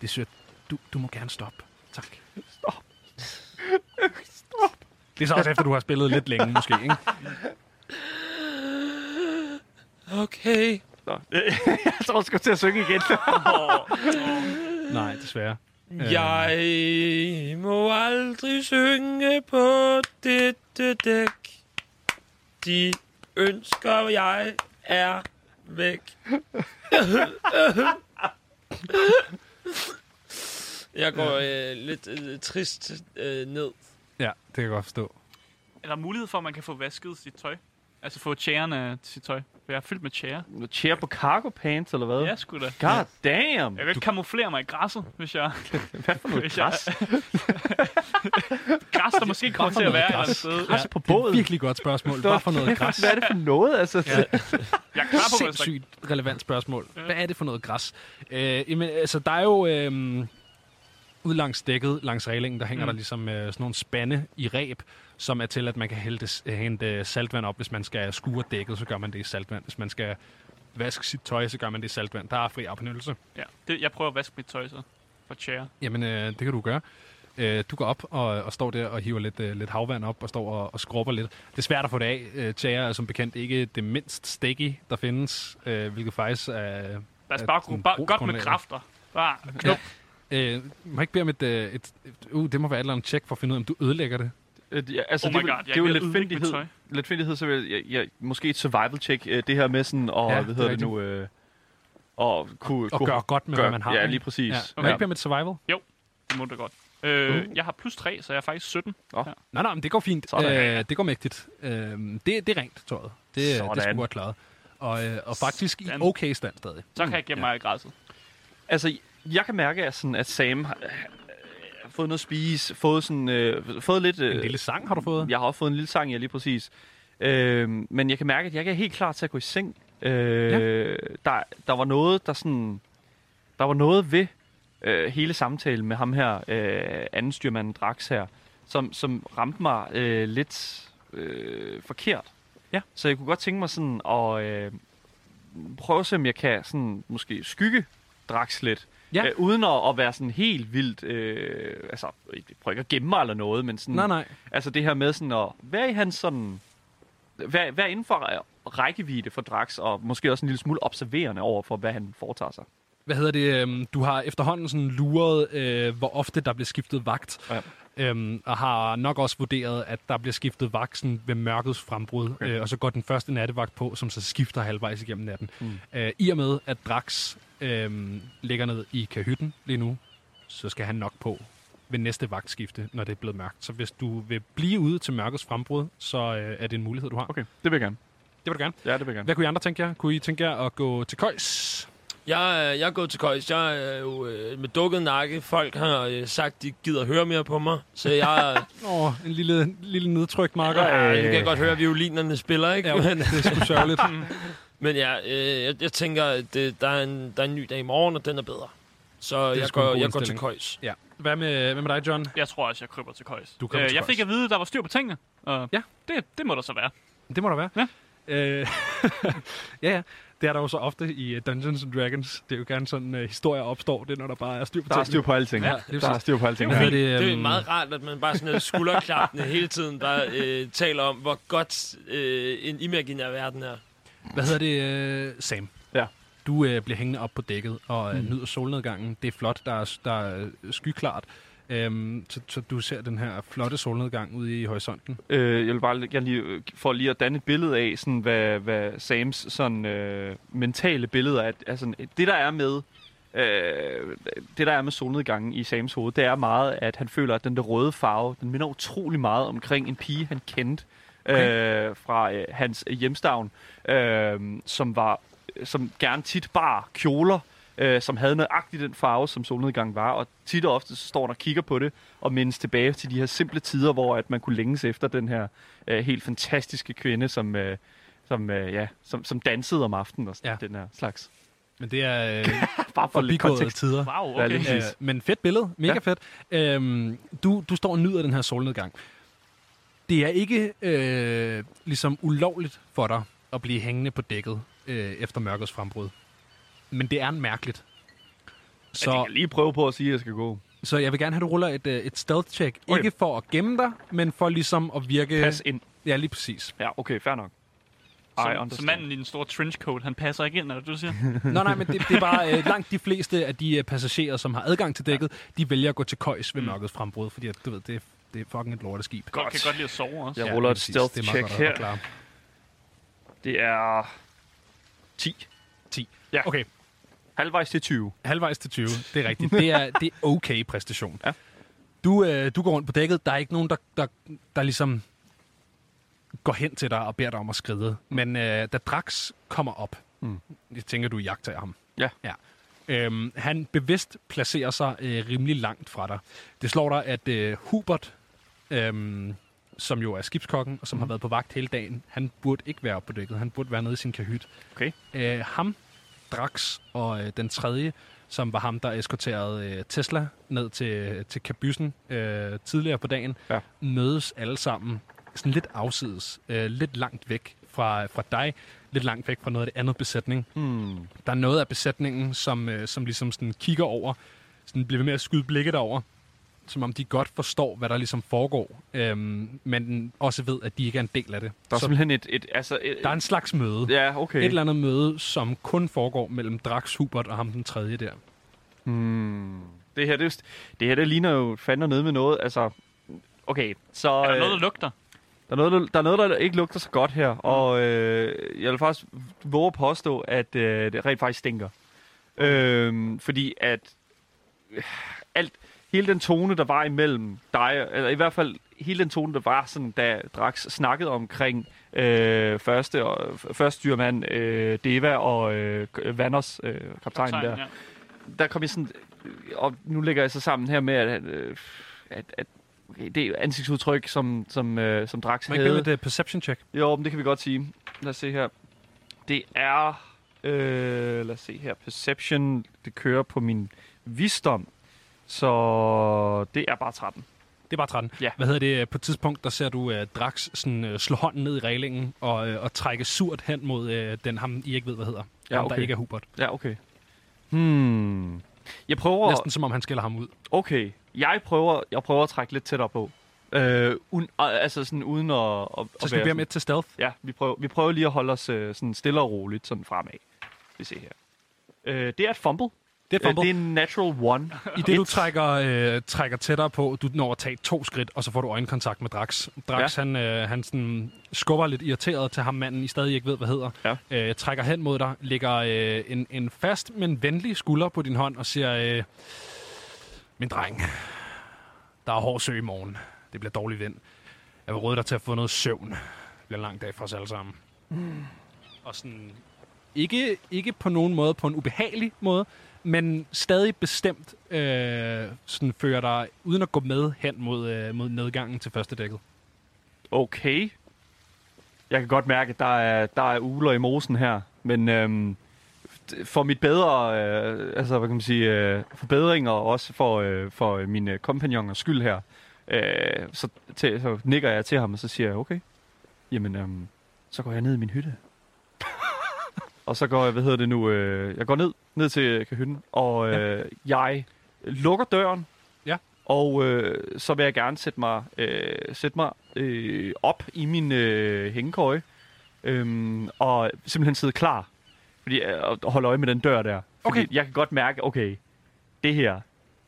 [SPEAKER 1] det er sødt. Du, du må gerne stoppe. Tak. Stop. Stop. Det er så også efter, du har spillet lidt længe, måske, ikke?
[SPEAKER 4] Okay.
[SPEAKER 2] Nå. jeg tror, jeg skal til at synge igen.
[SPEAKER 1] Nej, desværre. Øh.
[SPEAKER 4] Jeg må aldrig synge på dette dæk. De ønsker, jeg er væk. Jeg går øh, lidt øh, trist øh, ned.
[SPEAKER 1] Ja, det kan jeg godt forstå.
[SPEAKER 3] Er der mulighed for, at man kan få vasket sit tøj? Altså få tjærerne til sit tøj? For jeg er fyldt med tjære.
[SPEAKER 2] Chair på cargo pants, eller hvad?
[SPEAKER 3] Ja, sgu da.
[SPEAKER 2] God damn!
[SPEAKER 3] Jeg kan ikke kamuflere mig i græsset, hvis jeg...
[SPEAKER 2] Hvad for noget
[SPEAKER 3] Hvis jeg-
[SPEAKER 2] græs?
[SPEAKER 3] Græs, der måske kommer til at være et eller andet sted.
[SPEAKER 2] Græs på
[SPEAKER 1] Det er et
[SPEAKER 2] båden?
[SPEAKER 1] virkelig godt spørgsmål. Hvad for noget græs?
[SPEAKER 2] Hvad er det for noget? Altså,
[SPEAKER 1] Ja.
[SPEAKER 3] Jeg er klar på, hvis der...
[SPEAKER 1] Sindssygt relevant spørgsmål. Hvad er det for noget græs? Øh, jamen, altså, der er jo... Øh, ud langs dækket, langs reglingen, der hænger mm. der ligesom øh, sådan nogle spande i ræb, som er til, at man kan hælde, hente øh, saltvand op, hvis man skal skure dækket, så gør man det i saltvand. Hvis man skal vaske sit tøj, så gør man det i saltvand. Der er fri opnyttelse.
[SPEAKER 3] Ja, det, jeg prøver at vaske mit tøj så. For tjære.
[SPEAKER 1] Jamen, øh, det kan du gøre. Øh, du går op og, og står der og hiver lidt, øh, lidt havvand op og står og, og skrubber lidt. Det er svært at få det af. Øh, tjære er som bekendt ikke det mindst sticky, der findes, øh, hvilket faktisk er...
[SPEAKER 3] Lad os
[SPEAKER 1] Ja,
[SPEAKER 3] bare
[SPEAKER 1] sådan
[SPEAKER 3] kunne... Bare, godt med
[SPEAKER 1] brugsgrundlaget.
[SPEAKER 3] kræfter. Bare knop.
[SPEAKER 1] Øh, må jeg ikke bede om et... Øh, et, et uh, det må være et eller andet tjek for at finde ud af, om du ødelægger det.
[SPEAKER 2] Øh, ja, altså,
[SPEAKER 3] Oh
[SPEAKER 2] det, er
[SPEAKER 3] my
[SPEAKER 2] vel-
[SPEAKER 3] God, jeg
[SPEAKER 2] det er jo
[SPEAKER 3] er ved at ødelægge mit
[SPEAKER 2] letfindighed.
[SPEAKER 3] tøj.
[SPEAKER 2] Letfindighed, så vil jeg, jeg, måske et survival check, øh, det her med sådan, og
[SPEAKER 1] Ja,
[SPEAKER 2] ja,
[SPEAKER 1] det
[SPEAKER 2] hvad
[SPEAKER 1] er
[SPEAKER 2] hedder det
[SPEAKER 1] rigtigt.
[SPEAKER 2] nu, øh, og kunne,
[SPEAKER 1] Og
[SPEAKER 2] kunne
[SPEAKER 1] gøre godt med,
[SPEAKER 2] gøre-
[SPEAKER 1] hvad man har.
[SPEAKER 2] Ja,
[SPEAKER 1] ikke?
[SPEAKER 2] lige præcis.
[SPEAKER 1] Ja.
[SPEAKER 2] Ja,
[SPEAKER 1] Må jeg ikke bede om et survival?
[SPEAKER 3] Det må du godt.
[SPEAKER 2] Mm.
[SPEAKER 3] Øh, Jeg har plus 3, så jeg er faktisk 17.
[SPEAKER 1] Nej, nej, men det går fint.
[SPEAKER 2] Sådan.
[SPEAKER 1] Øh, det går mægtigt. Øh, det, det er rent, tøjet. Det, det er
[SPEAKER 2] Sådan.
[SPEAKER 1] sgu godt klaret. Og, øh, og faktisk i
[SPEAKER 3] Sådan.
[SPEAKER 1] okay stand stadig.
[SPEAKER 3] Så
[SPEAKER 2] Mm.
[SPEAKER 3] kan jeg gemme
[SPEAKER 1] ja.
[SPEAKER 3] mig i græsset.
[SPEAKER 2] Altså, jeg kan mærke, at, sådan, at Sam har, øh, har fået noget at spise, fået, sådan, øh, fået lidt... Øh,
[SPEAKER 1] En lille sang har du fået?
[SPEAKER 2] Jeg har også fået en lille sang, ja, lige præcis. Øh, men jeg kan mærke, at jeg ikke er helt klar til at gå i seng. Øh, der, der var noget, der sådan... Der var noget ved øh, hele samtalen med ham her, øh, anden styrmanden Drax her, som, som ramte mig øh, lidt øh, forkert.
[SPEAKER 3] Ja.
[SPEAKER 2] Så jeg kunne godt tænke mig sådan at øh, prøve at se, om jeg kan sådan måske skygge Drax lidt.
[SPEAKER 1] Ja.
[SPEAKER 2] Øh, uden at, at være sådan helt vildt, øh, altså, jeg prøver ikke at gemme mig eller noget, men sådan,
[SPEAKER 1] Nej, nej.
[SPEAKER 2] Altså det her med sådan at være i hans sådan... Være, være inden for øh, rækkevidde for Drax, og måske også en lille smule observerende over for, hvad han foretager sig.
[SPEAKER 1] hvad hedder det, øhm, du har efterhånden sådan luret, øh, hvor ofte der bliver skiftet vagt,
[SPEAKER 2] Ja.
[SPEAKER 1] øhm, og har nok også vurderet, at der bliver skiftet vagt sådan ved mørkets frembrud, okay. øh, og så går den første nattevagt på, som så skifter halvvejs igennem natten. Mm. Øh, I og med, at Drax øh, ligger ned i kahytten lige nu, så skal han nok på ved næste vagtskifte, når det er blevet mørkt. Så hvis du vil blive ude til mørkets frembrud, så øh, er det en mulighed, du har.
[SPEAKER 2] Okay, det vil jeg gerne.
[SPEAKER 1] Det vil du gerne.
[SPEAKER 2] Ja, det vil jeg gerne.
[SPEAKER 1] Hvad kunne I andre tænke jer? Kunne I tænke jer at gå til køjs?
[SPEAKER 4] Jeg, øh, jeg er gået til køjs. Jeg er jo øh, med dukket nakke. Folk har øh, sagt, de gider høre mere på mig. Så jeg,
[SPEAKER 1] Åh, oh, en lille, lille nedtrykt marker.
[SPEAKER 4] øh, nu kan jeg godt høre, at violinerne spiller, ikke?
[SPEAKER 1] Ja,
[SPEAKER 4] Ja. Men,
[SPEAKER 1] det er sgu sørgeligt.
[SPEAKER 4] men ja, øh, jeg, jeg tænker, at det, der, er en, der er en ny dag i morgen, og den er bedre. Så
[SPEAKER 1] er
[SPEAKER 4] jeg
[SPEAKER 1] sgu en
[SPEAKER 4] går,
[SPEAKER 1] god
[SPEAKER 4] jeg går til
[SPEAKER 1] indstilling.
[SPEAKER 4] køjs.
[SPEAKER 1] ja. Hvad med, hvad med dig, John?
[SPEAKER 3] Jeg tror også, jeg kryber til køjs. Øh,
[SPEAKER 1] Du kryber til
[SPEAKER 3] jeg
[SPEAKER 1] køjs.
[SPEAKER 3] fik at vide, at der var styr på tingene. Og
[SPEAKER 1] Ja.
[SPEAKER 3] det, det må der så være.
[SPEAKER 1] Det må der være.
[SPEAKER 3] Ja.
[SPEAKER 1] Øh, ja, ja. Det er der jo så ofte i øh, Dungeons and Dragons. Det er jo gerne sådan, uh, historier opstår. Det er, når der bare er styr på
[SPEAKER 2] Der er styr
[SPEAKER 1] tingene.
[SPEAKER 2] på alting.
[SPEAKER 1] Ja,
[SPEAKER 2] Ja,
[SPEAKER 1] det er præcis.
[SPEAKER 2] der er styr på alting.
[SPEAKER 1] Hvad
[SPEAKER 2] Ja.
[SPEAKER 1] hedder det,
[SPEAKER 4] Det er jo
[SPEAKER 1] øhm,
[SPEAKER 4] meget rart, at man bare sådan er skulderklappende hele tiden, der øh, taler om, hvor godt øh, en imaginær verden er.
[SPEAKER 1] Hvad hedder det, uh, Sam?
[SPEAKER 2] Ja.
[SPEAKER 1] Du øh, bliver hængende op på dækket og øh, nyder solnedgangen. Det er flot. Der er, der er øh, skyklart. Øhm, så, så du ser den her flotte solnedgang ude i horisonten.
[SPEAKER 2] Øh, jeg vil bare gerne lige, øh, for lige at danne et billede af, sådan, hvad, hvad Sams sådan, øh, mentale billeder er. Altså, det, der er med øh, det, der er med solnedgangen i Sams hoved, det er meget, at han føler, at den der røde farve, den minder utrolig meget omkring en pige, han kendte okay. øh, fra øh, hans hjemstavn, øh, som var øh, som gerne tit bar kjoler, øh, som havde nøjagtigt den farve, som solnedgangen var, og tit og ofte så står han og kigger på det, og mindes tilbage til de her simple tider, hvor at man kunne længes efter den her øh, helt fantastiske kvinde, som, øh, som, øh, ja, som, som dansede om aftenen og sådan,
[SPEAKER 1] Ja.
[SPEAKER 2] ja. den her slags.
[SPEAKER 1] Men det er øh,
[SPEAKER 2] Bare for lidt
[SPEAKER 1] forbigået
[SPEAKER 2] kontekst.
[SPEAKER 1] tider.
[SPEAKER 3] Wow,
[SPEAKER 2] Ja,
[SPEAKER 3] okay.
[SPEAKER 2] lige-
[SPEAKER 1] Øh,
[SPEAKER 2] Præcis.
[SPEAKER 1] men fedt billede. Mega ja.
[SPEAKER 2] Ja.
[SPEAKER 1] fedt. Øhm, du, du står og nyder den her solnedgang. Det er ikke øh, ligesom ulovligt for dig at blive hængende på dækket øh, efter mørkets frembrud. Men det er mærkeligt.
[SPEAKER 2] Så... Jeg
[SPEAKER 1] Så,
[SPEAKER 2] kan lige prøve på at sige, at jeg skal gå.
[SPEAKER 1] så jeg vil gerne have, at du ruller et, øh, et stealth check.
[SPEAKER 2] Okay.
[SPEAKER 1] Ikke for at gemme dig, men for ligesom at virke...
[SPEAKER 2] Pas ind.
[SPEAKER 1] Ja, lige præcis.
[SPEAKER 2] Ja, okay, fair nok. I
[SPEAKER 3] Som, som
[SPEAKER 2] understand.
[SPEAKER 3] manden i den store trenchcoat, han passer ikke ind, eller du siger.
[SPEAKER 1] Nå nej, men det, det er bare øh, langt de fleste af de øh, passagerer, som har adgang til dækket, de vælger at gå til køjs
[SPEAKER 2] Mm.
[SPEAKER 1] ved mørkets frembrud, fordi at, du ved, det, er- det er fucking et lorteskib.
[SPEAKER 3] Godt. kan godt lide at sove også.
[SPEAKER 2] Jeg ruller et
[SPEAKER 1] præcis.
[SPEAKER 2] stealth
[SPEAKER 1] Det er meget
[SPEAKER 2] check
[SPEAKER 1] godt at- at klare.
[SPEAKER 2] her. Det er 10.
[SPEAKER 1] 10.
[SPEAKER 2] Ja.
[SPEAKER 1] Okay,
[SPEAKER 2] Halvvejs til 20.
[SPEAKER 1] halvvejs til 20. Det er rigtigt. Det er, det er okay præstation. Ja. Du, øh, du går rundt på dækket. Der er ikke nogen, der, der, der ligesom går hen til dig og beder dig om at skride. Men øh, da Drax kommer op, mm. jeg tænker, du jagter ham.
[SPEAKER 2] Ja.
[SPEAKER 1] ja. Øhm, han bevidst placerer sig øh, rimelig langt fra dig. Det slår dig, at øh, Hubert, øhm, som jo er skibskokken, og som mm. har været på vagt hele dagen, han burde ikke være oppe på dækket. Han burde være nede i sin kahyt.
[SPEAKER 2] Okay.
[SPEAKER 1] Øh, ham, Drax og øh, den tredje, som var ham, der eskorterede øh, Tesla ned til, til kabyssen øh, tidligere på dagen,
[SPEAKER 2] Ja.
[SPEAKER 1] mødes alle sammen sådan lidt afsides, øh, lidt langt væk fra, fra dig, lidt langt væk fra noget af det andet besætning. Mm.
[SPEAKER 2] Hmm.
[SPEAKER 1] Der er noget af besætningen, som, øh, som ligesom sådan kigger over, sådan bliver ved med at skyde blikket over, som om de godt forstår, hvad der ligesom foregår, øhm, men også ved, at de ikke er en del af det.
[SPEAKER 2] Der er
[SPEAKER 1] Så
[SPEAKER 2] simpelthen et... et altså, et,
[SPEAKER 1] der er en slags møde.
[SPEAKER 2] Ja, okay.
[SPEAKER 1] Et eller andet møde, som kun foregår mellem Drax, Hubert og ham den tredje der.
[SPEAKER 2] Hmm. Det her, det, er jo st- det her, det ligner jo fandme nede med noget. Altså, okay, så...
[SPEAKER 3] Er der
[SPEAKER 2] øh,
[SPEAKER 3] noget, der lugter?
[SPEAKER 2] Der er, noget, der, der er noget, der ikke lugter så godt her, og øh, jeg vil faktisk våge at påstå, at øh, det rent faktisk stinker. Øh, fordi at øh, alt, hele den tone, der var imellem dig, eller i hvert fald hele den tone, der var, sådan, da Drax snakkede omkring øh, første, og, første styrmand øh, Deva og øh, Vanders, øh, kaptajnen kaptajn, der
[SPEAKER 3] Tegn, ja.
[SPEAKER 2] der kom jeg sådan... øh, Og nu lægger jeg så sammen her med, at, øh, at, at okay, det ansigtsudtryk, som, som, øh, som Drax
[SPEAKER 1] Må jeg ikke
[SPEAKER 2] havde...
[SPEAKER 1] med et uh, perception check?
[SPEAKER 2] Jo, men det kan vi godt sige. Lad os se her. Det er... Øh, lad os se her. Perception, det kører på min visdom. Så det er bare 13.
[SPEAKER 1] Det er bare 13.
[SPEAKER 2] Ja.
[SPEAKER 1] Hvad hedder det? På et tidspunkt, der ser du uh, Drax sådan, uh, slå hånden ned i reglingen og, uh, og trække surt hen mod uh, den ham, I ikke ved, hvad hedder.
[SPEAKER 2] Ja,
[SPEAKER 1] ham,
[SPEAKER 2] okay.
[SPEAKER 1] der ikke er Hubert.
[SPEAKER 2] Ja, okay. Hmm. Jeg prøver...
[SPEAKER 1] Næsten som om han skiller ham ud.
[SPEAKER 2] Okay, jeg prøver, jeg prøver at trække lidt tættere på. Øh, un, altså sådan uden at... at
[SPEAKER 1] Så skal vi
[SPEAKER 2] at
[SPEAKER 1] bede
[SPEAKER 2] sådan-
[SPEAKER 1] med til stealth.
[SPEAKER 2] Ja, vi prøver, vi prøver lige at holde os øh, sådan stille og roligt sådan fremad. Vi ser her. Øh, det er et fumble.
[SPEAKER 1] Det er et
[SPEAKER 2] Øh,
[SPEAKER 1] fumble.
[SPEAKER 2] det er en natural one.
[SPEAKER 1] I det, du trækker, øh, trækker tættere på, du når at tage to skridt, og så får du øjenkontakt med Drax. Drax, ja. han, øh, han sådan skubber lidt irriteret til ham manden, I stadig ikke ved, hvad hedder.
[SPEAKER 2] Ja.
[SPEAKER 1] Øh, trækker hen mod dig, lægger øh, en, en fast, men venlig skulder på din hånd og siger, øh, min dreng, der er hård sø i morgen. Det bliver dårlig vind. Jeg vil råde dig til at få noget søvn. Det bliver en lang dag for os alle sammen. Og sådan ikke, ikke på nogen måde på en ubehagelig måde, men stadig bestemt øh, sådan fører dig uden at gå med hen mod, øh, mod nedgangen til første dækket.
[SPEAKER 2] Okay. Jeg kan godt mærke, at der er, der er uler i mosen her. Men øhm, d- for mit bedre, øh, altså hvad kan man sige, øh, forbedringer og også for, øh, for øh, mine kompanioners skyld her, øh, så, til, så nikker jeg til ham, og så siger jeg, okay, jamen, øhm, så går jeg ned i min hytte. og så går jeg, hvad hedder det nu, øh, jeg går ned, ned til kahytten, og øh, jeg lukker døren, og øh, så vil jeg gerne sætte mig, øh, sætte mig øh, op i min øh, hængekøje. Øhm, og simpelthen sidde klar. Fordi, øh, og og holde øje med den dør der. Fordi
[SPEAKER 1] Okay.
[SPEAKER 2] jeg kan godt mærke, okay, det her,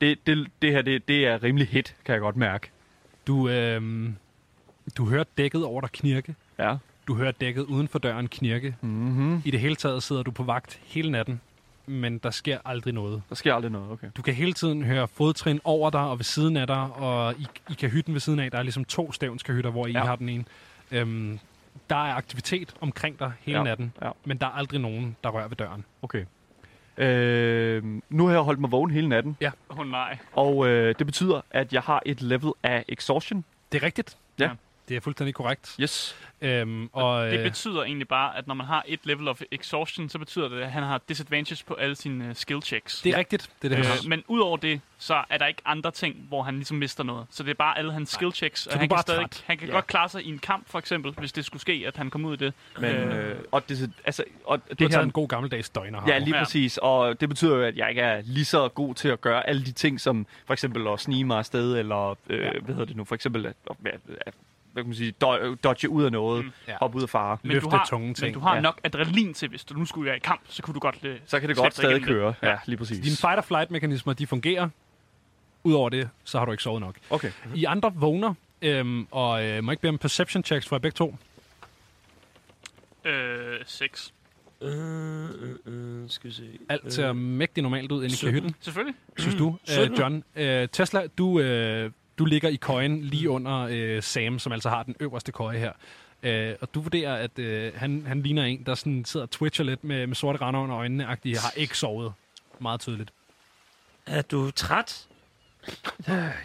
[SPEAKER 2] det, det, det her, det, det er rimelig hit, kan jeg godt mærke.
[SPEAKER 1] Du, øh, du hører dækket over dig knirke.
[SPEAKER 2] Ja.
[SPEAKER 1] Du hører dækket uden for døren knirke.
[SPEAKER 2] Mm-hmm.
[SPEAKER 1] I det hele taget sidder du på vagt hele natten, men der sker aldrig noget.
[SPEAKER 2] Der sker aldrig noget, okay.
[SPEAKER 1] Du kan hele tiden høre fodtrin over dig og ved siden af dig, og i, i kahytten ved siden af, der er ligesom to stævnskahytter, hvor I
[SPEAKER 2] Ja.
[SPEAKER 1] ja. har den ene. Øhm, der er aktivitet omkring dig hele
[SPEAKER 2] Ja,
[SPEAKER 1] ja. natten,
[SPEAKER 2] ja.
[SPEAKER 1] men der er aldrig nogen, der rører ved døren.
[SPEAKER 2] Okay. Øh, nu har jeg holdt mig vågen hele natten,
[SPEAKER 3] Åh oh, nej.
[SPEAKER 2] og øh, det betyder, at jeg har et level af exhaustion.
[SPEAKER 1] Det er rigtigt.
[SPEAKER 2] Ja.
[SPEAKER 1] Det er fuldstændig korrekt.
[SPEAKER 2] Yes.
[SPEAKER 1] Øhm, og,
[SPEAKER 3] Det
[SPEAKER 1] øh,
[SPEAKER 3] betyder egentlig bare, at når man har et level of exhaustion, så betyder det, at han har disadvantage på alle sine øh, skill checks.
[SPEAKER 1] det er rigtigt. Det er det, han har.
[SPEAKER 3] Øh, men udover det, så er der ikke andre ting, hvor han ligesom mister noget. Så det er bare alle hans skill checks.
[SPEAKER 1] du
[SPEAKER 3] Og
[SPEAKER 1] er
[SPEAKER 3] han,
[SPEAKER 1] bare
[SPEAKER 3] kan stadig,
[SPEAKER 1] træt.
[SPEAKER 3] han kan
[SPEAKER 2] Ja.
[SPEAKER 3] godt klare sig i en kamp, for eksempel, hvis det skulle ske, at han kom ud i det.
[SPEAKER 2] Men, øh, og det, altså, og
[SPEAKER 1] Du har
[SPEAKER 2] det her,
[SPEAKER 1] taget en god gammeldags døgner.
[SPEAKER 2] Ja, lige
[SPEAKER 3] Ja.
[SPEAKER 2] præcis. Og det betyder jo, at jeg ikke er lige så god til at gøre alle de ting, som for eksempel at snige mig afsted, eller øh, hvad hedder det nu, for eksempel at, at, at, at hvad kan man sige, do- dodge ud af noget, mm.
[SPEAKER 1] Ja.
[SPEAKER 2] hoppe ud af fare.
[SPEAKER 1] Men- Løfte
[SPEAKER 3] du har,
[SPEAKER 1] tunge ting.
[SPEAKER 3] Men du har
[SPEAKER 2] Ja.
[SPEAKER 3] nok adrenalin til, hvis du nu skulle være i kamp, så kunne du godt... øh,
[SPEAKER 2] Så kan det
[SPEAKER 3] slæbe
[SPEAKER 2] godt
[SPEAKER 3] dig igennem
[SPEAKER 2] stadig
[SPEAKER 3] det.
[SPEAKER 2] køre. Ja, lige præcis.
[SPEAKER 1] Dine fight or flight mekanismer, de fungerer. Udover det, så har du ikke sovet nok.
[SPEAKER 2] Okay.
[SPEAKER 1] I andre vågner, øhm, og øh, må ikke bede om perception checks fra jer begge to.
[SPEAKER 3] Øh, 6.
[SPEAKER 4] Øh, øh, øh, skal vi se. Øh,
[SPEAKER 1] Alt ser mægtig normalt ud inde i
[SPEAKER 4] sytten.
[SPEAKER 1] kahytten,
[SPEAKER 3] Selvfølgelig.
[SPEAKER 1] synes du, øh,
[SPEAKER 4] sytten.
[SPEAKER 1] John. Øh, Tesla, du, øh, du ligger i køjen lige under øh, Sam, som altså har den øverste køje her. Øh, og du vurderer, at øh, han, han ligner en, der sådan sidder og twitcher lidt med, med sorte render under øjnene, og har ikke sovet meget tydeligt.
[SPEAKER 4] Er du træt?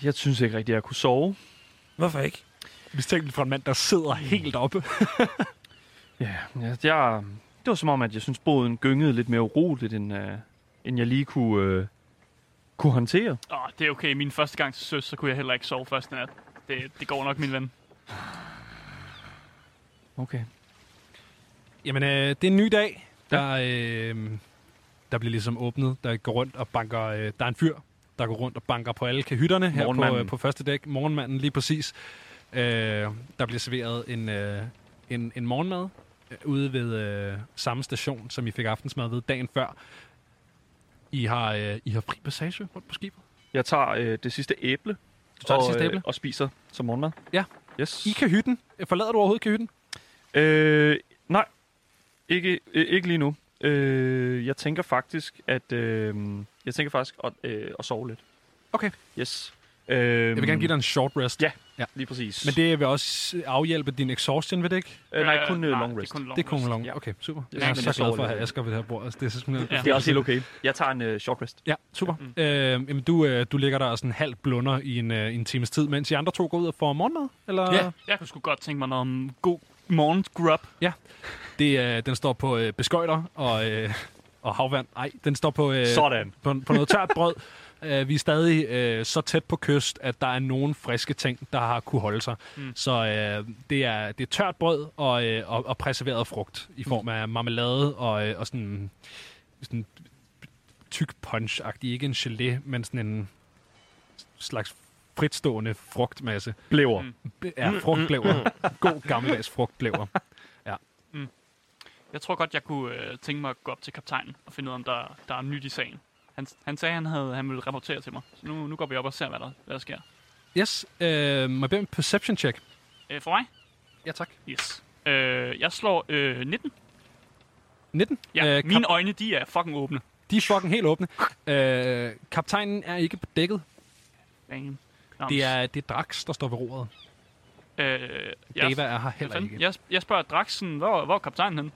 [SPEAKER 2] Jeg synes ikke rigtigt, at jeg kunne sove.
[SPEAKER 4] Hvorfor ikke?
[SPEAKER 1] Mistænkeligt fra en mand, der sidder helt oppe.
[SPEAKER 2] Ja, jeg, jeg, det var som om, at jeg synes, båden gyngede lidt mere uroligt, end, øh, end jeg lige kunne, øh, kunne håndtere.
[SPEAKER 3] Åh, oh, det er okay. Min første gang til søs, så kunne jeg heller ikke sove første nat. Det, det går nok, min ven.
[SPEAKER 2] Okay.
[SPEAKER 1] Jamen, øh, det er en ny dag, der, øh, der bliver ligesom åbnet. Der går rundt og banker... Øh, der er en fyr, der går rundt og banker på alle kahytterne her på,
[SPEAKER 2] Morgenmanden.
[SPEAKER 1] øh, på første dæk. Morgenmanden, lige præcis. Øh, der bliver serveret en, øh, en, en morgenmad øh, ude ved øh, samme station, som I fik aftensmad ved dagen før. I har, øh, I har fri passage rundt på skibet.
[SPEAKER 2] Jeg tager øh, det sidste æble. Du
[SPEAKER 1] tager det
[SPEAKER 2] og, øh,
[SPEAKER 1] sidste æble?
[SPEAKER 2] og spiser som morgenmad.
[SPEAKER 1] Ja.
[SPEAKER 2] Yes.
[SPEAKER 1] I kahytten. Forlader du overhovedet kahytten?
[SPEAKER 2] Øh, nej, ikke, øh, ikke lige nu. Øh, jeg tænker faktisk, at øh, jeg tænker faktisk at, øh, at sove lidt.
[SPEAKER 1] Okay.
[SPEAKER 2] Yes. Øh, jeg
[SPEAKER 1] Jeg vil gerne give dig en short rest.
[SPEAKER 2] Ja. Lige præcis.
[SPEAKER 1] Men det vil også afhjælpe din exhaustion, vil det ikke?
[SPEAKER 2] øh, nej, kun øh,
[SPEAKER 3] nej,
[SPEAKER 2] long rest.
[SPEAKER 3] Det er kun long
[SPEAKER 1] Det er kun
[SPEAKER 3] rest.
[SPEAKER 1] long.
[SPEAKER 2] Ja.
[SPEAKER 1] Okay, super.
[SPEAKER 2] Ja,
[SPEAKER 1] Jeg er
[SPEAKER 2] men
[SPEAKER 1] så
[SPEAKER 2] jeg
[SPEAKER 1] glad
[SPEAKER 2] sover
[SPEAKER 1] for at
[SPEAKER 2] lidt.
[SPEAKER 1] have Asger ved det her bord. Altså, det er simpelthen...
[SPEAKER 3] Ja.
[SPEAKER 2] det er også helt okay. Jeg tager en øh, short rest.
[SPEAKER 1] Ja, super. Mm. Øhm, jamen, du, øh, du ligger der og sådan halvt blunder i en, øh, en times tid, mens de andre to går ud og får morgenmad? Eller?
[SPEAKER 4] Ja.
[SPEAKER 3] Jeg kunne sgu godt tænke mig noget om god morgensgrub.
[SPEAKER 1] Det, øh, den står på øh, beskøjter og, øh, og havvand. Nej, den står på, øh,
[SPEAKER 2] Sådan.
[SPEAKER 1] på, på noget tørt brød. Øh, vi er stadig øh, så tæt på kyst, at der er nogle friske ting, der har kunne holde sig. Mm. Så øh, det, er, det er tørt brød og, øh, og, og preserveret frugt i form af marmelade og, øh, og sådan, sådan tyk punch -agtig. Ikke en gelé, men sådan en slags fritstående frugtmasse.
[SPEAKER 2] Blæver.
[SPEAKER 3] Mm.
[SPEAKER 1] Ja, frugtblæver. God gammeldags frugtblæver.
[SPEAKER 3] Jeg tror godt, jeg kunne øh, tænke mig at gå op til kaptajnen og finde ud af, om der, der er nyt i sagen. Han, han sagde, han havde han ville rapportere til mig. Så nu, nu går vi op og ser, hvad der, hvad der sker.
[SPEAKER 1] Yes, øh, må jeg bede om en perception check?
[SPEAKER 3] Øh, for mig?
[SPEAKER 1] Ja, tak.
[SPEAKER 3] Yes. Øh, jeg slår øh, 19.
[SPEAKER 1] 19.
[SPEAKER 3] Ja,
[SPEAKER 1] Øh,
[SPEAKER 3] øh,
[SPEAKER 1] kap-
[SPEAKER 3] mine øjne, de er fucking åbne.
[SPEAKER 1] De er fucking helt åbne. Øh, kaptajnen er ikke på dækket.
[SPEAKER 3] Damn. Nå,
[SPEAKER 1] Det er, det er Drax, der står ved roret.
[SPEAKER 3] Øh, jeg,
[SPEAKER 1] Dava er her
[SPEAKER 3] hvad
[SPEAKER 1] heller
[SPEAKER 3] fanden?
[SPEAKER 1] ikke.
[SPEAKER 3] jeg, jeg spørger Draxen, hvor, hvor er kaptajnen hen?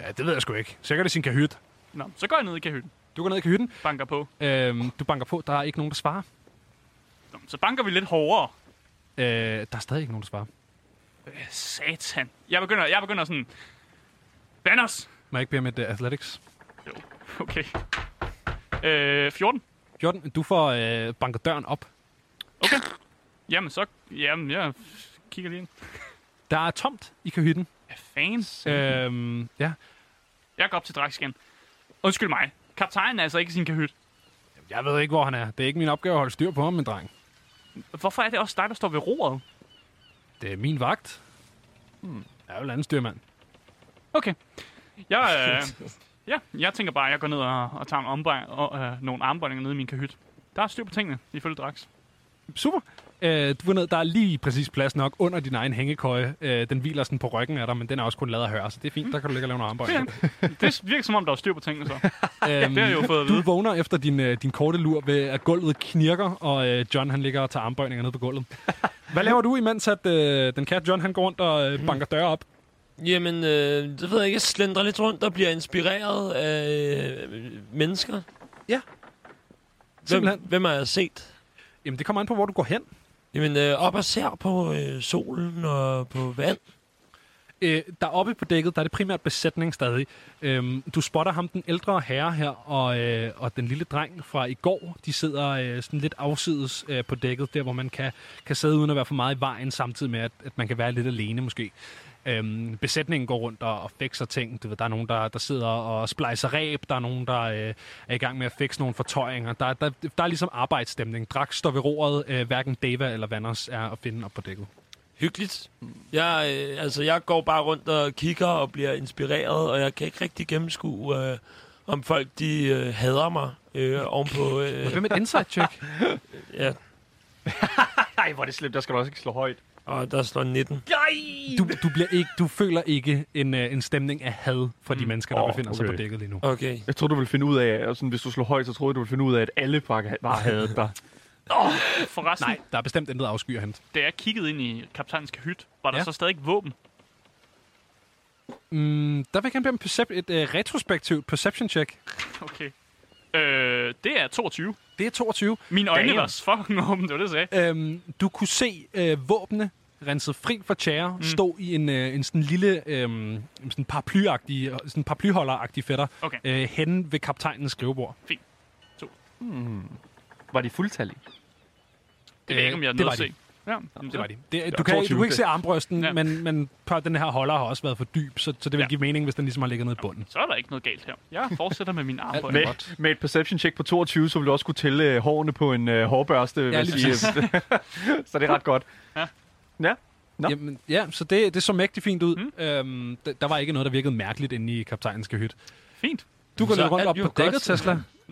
[SPEAKER 1] Ja, det ved jeg sgu ikke. Sikkert i sin kahyt.
[SPEAKER 3] Nå, så går jeg ned i kahytten.
[SPEAKER 1] Du går ned i kahytten.
[SPEAKER 3] Banker på.
[SPEAKER 1] Øh, du banker på. Der er ikke nogen, der svarer.
[SPEAKER 3] Nå, så banker vi lidt hårdere.
[SPEAKER 1] Øh, der er stadig ikke nogen, der svarer.
[SPEAKER 3] Øh, satan. Jeg begynder, jeg begynder sådan... Banners!
[SPEAKER 1] Må jeg ikke bede om et uh, athletics?
[SPEAKER 3] Jo, okay. Øh, 14.
[SPEAKER 1] Jordan, du får øh, banket døren op.
[SPEAKER 3] Okay. Jamen, så... Jamen, jeg kigger lige ind.
[SPEAKER 1] Der er tomt i kahytten.
[SPEAKER 3] Hvad
[SPEAKER 1] Øh,
[SPEAKER 3] fanden?
[SPEAKER 1] ja.
[SPEAKER 3] Jeg går op til Drax igen. Undskyld mig. Kaptajnen er altså ikke i sin kahyt.
[SPEAKER 1] Jeg ved ikke, hvor han er. Det er ikke min opgave at holde styr på ham, min dreng.
[SPEAKER 3] Hvorfor er det også dig, der står ved roret?
[SPEAKER 1] Det er min vagt. Hmm. Jeg er jo landstyrmand.
[SPEAKER 3] Okay. Jeg, øh, ja, jeg tænker bare, at jeg går ned og, og tager en ombring, og, øh, nogle armbøjninger nede i min kahyt. Der er styr på tingene, ifølge Drax.
[SPEAKER 1] Super. Øh, du er ned, der er lige præcis plads nok under din egen hængekøje. Øh, den hviler sådan på ryggen af dig, men den er også kun lavet af høre, så det er fint. Der kan du ligge og lave nogle armbøjninger.
[SPEAKER 3] Det virker som om, der er styr på tingene så.
[SPEAKER 1] øhm,
[SPEAKER 3] Det har jeg jo fået at
[SPEAKER 1] du
[SPEAKER 3] vide.
[SPEAKER 1] vågner efter din, øh, din korte lur ved, at gulvet knirker, og øh, John han ligger og tager armbøjninger ned på gulvet. Hvad laver du, imens at øh, den kære John han går rundt og øh, banker døre op?
[SPEAKER 4] Jamen, øh, det ved jeg ikke. Jeg slendrer lidt rundt og bliver inspireret af øh, mennesker.
[SPEAKER 1] Ja.
[SPEAKER 4] Hvem,
[SPEAKER 1] Simpelthen.
[SPEAKER 4] hvem har jeg set?
[SPEAKER 1] Jamen, det kommer an på, hvor du går hen.
[SPEAKER 4] Jamen, øh, op og ser på øh, solen og på vand.
[SPEAKER 1] Øh, deroppe på dækket, der er det primært besætning stadig. Øhm, du spotter ham, den ældre herre her, og, øh, og den lille dreng fra i går. De sidder øh, sådan lidt afsides øh, på dækket, der hvor man kan, kan sidde uden at være for meget i vejen, samtidig med, at, at man kan være lidt alene måske. Øhm, besætningen går rundt og, og fikser ting. Du ved, der er nogen, der, der sidder og splejser ræb. Der er nogen, der øh, er i gang med at fikse nogle fortøjninger. Der, der, der er ligesom arbejdsstemning. Drax står ved roret. Øh, hverken Deva eller Vanders er at finde op på dækket.
[SPEAKER 4] hyggeligt. Jeg, øh, altså, jeg går bare rundt og kigger og bliver inspireret, og jeg kan ikke rigtig gennemskue, øh, om folk de øh, hader mig øh, ovenpå... Øh,
[SPEAKER 1] Hvem er et insight check?
[SPEAKER 4] ja,
[SPEAKER 2] Nej, hvor er det slemt. Der skal du også ikke slå højt.
[SPEAKER 4] og der står 19.
[SPEAKER 1] Du, du, bliver ikke, du føler ikke en, øh, en stemning af had fra de mennesker, der
[SPEAKER 2] Åh,
[SPEAKER 1] befinder sig på
[SPEAKER 2] okay.
[SPEAKER 1] dækket lige nu.
[SPEAKER 4] Okay.
[SPEAKER 2] Jeg tror du ville finde ud af, og sådan, hvis du slår højt, så troede jeg, du ville finde ud af, at alle bare, bare havde dig.
[SPEAKER 3] Forresten, Nej.
[SPEAKER 1] Nej, der er bestemt intet afsky at hente.
[SPEAKER 3] da jeg kiggede ind i kaptajnens kahyt, var der
[SPEAKER 1] Ja.
[SPEAKER 3] ja. så stadig ikke våben.
[SPEAKER 1] Mm, der vil jeg gerne bede om percep- et øh, retrospektivt perception check.
[SPEAKER 3] Okay. Øh, det er 22.
[SPEAKER 1] Det er 22.
[SPEAKER 3] Mine øjne
[SPEAKER 2] Damn.
[SPEAKER 3] var fucking åbne, det var det, jeg sagde.
[SPEAKER 1] Øhm, du kunne se øh, våbne renset fri for tjære, mm. stå i en, øh, en sådan lille øhm, sådan paraplyagtig, sådan paraplyholderagtig fætter
[SPEAKER 3] Okay.
[SPEAKER 1] øh, hen ved kaptajnens skrivebord.
[SPEAKER 2] Var de fuldtallige?
[SPEAKER 3] Det ved jeg ikke, om jeg er
[SPEAKER 1] det
[SPEAKER 3] nødt
[SPEAKER 1] var
[SPEAKER 3] til at
[SPEAKER 1] de.
[SPEAKER 3] se. Ja, jamen,
[SPEAKER 1] Det var de. Det, du,
[SPEAKER 2] var
[SPEAKER 1] kan, ikke- du
[SPEAKER 2] 22,
[SPEAKER 1] kan ikke
[SPEAKER 2] det.
[SPEAKER 1] se armbrysten, ja.
[SPEAKER 3] Ja.
[SPEAKER 1] men, men på- den her holder har også været for dyb, så, så det vil
[SPEAKER 3] Ja.
[SPEAKER 1] give mening, hvis den ligesom har ligget nede i bunden.
[SPEAKER 3] Så er der ikke noget galt her. Jeg fortsætter med min arm på.
[SPEAKER 2] Med, med et perception check på 22, så vil du også kunne tælle øh, hårene på en øh, hårbørste, vil jeg
[SPEAKER 1] lige
[SPEAKER 2] sige. så det er ret godt.
[SPEAKER 3] Ja.
[SPEAKER 2] Ja. Nå.
[SPEAKER 1] Jamen, ja, så det, det så mægtig fint ud. Mm. Øhm, d- der var ikke noget, der virkede mærkeligt inde i kaptajnens kahyt.
[SPEAKER 3] Fint.
[SPEAKER 1] Du går
[SPEAKER 4] Så
[SPEAKER 1] lidt rundt
[SPEAKER 4] alt
[SPEAKER 1] op
[SPEAKER 4] jo
[SPEAKER 1] på
[SPEAKER 4] godt.
[SPEAKER 1] dækket, Tesla.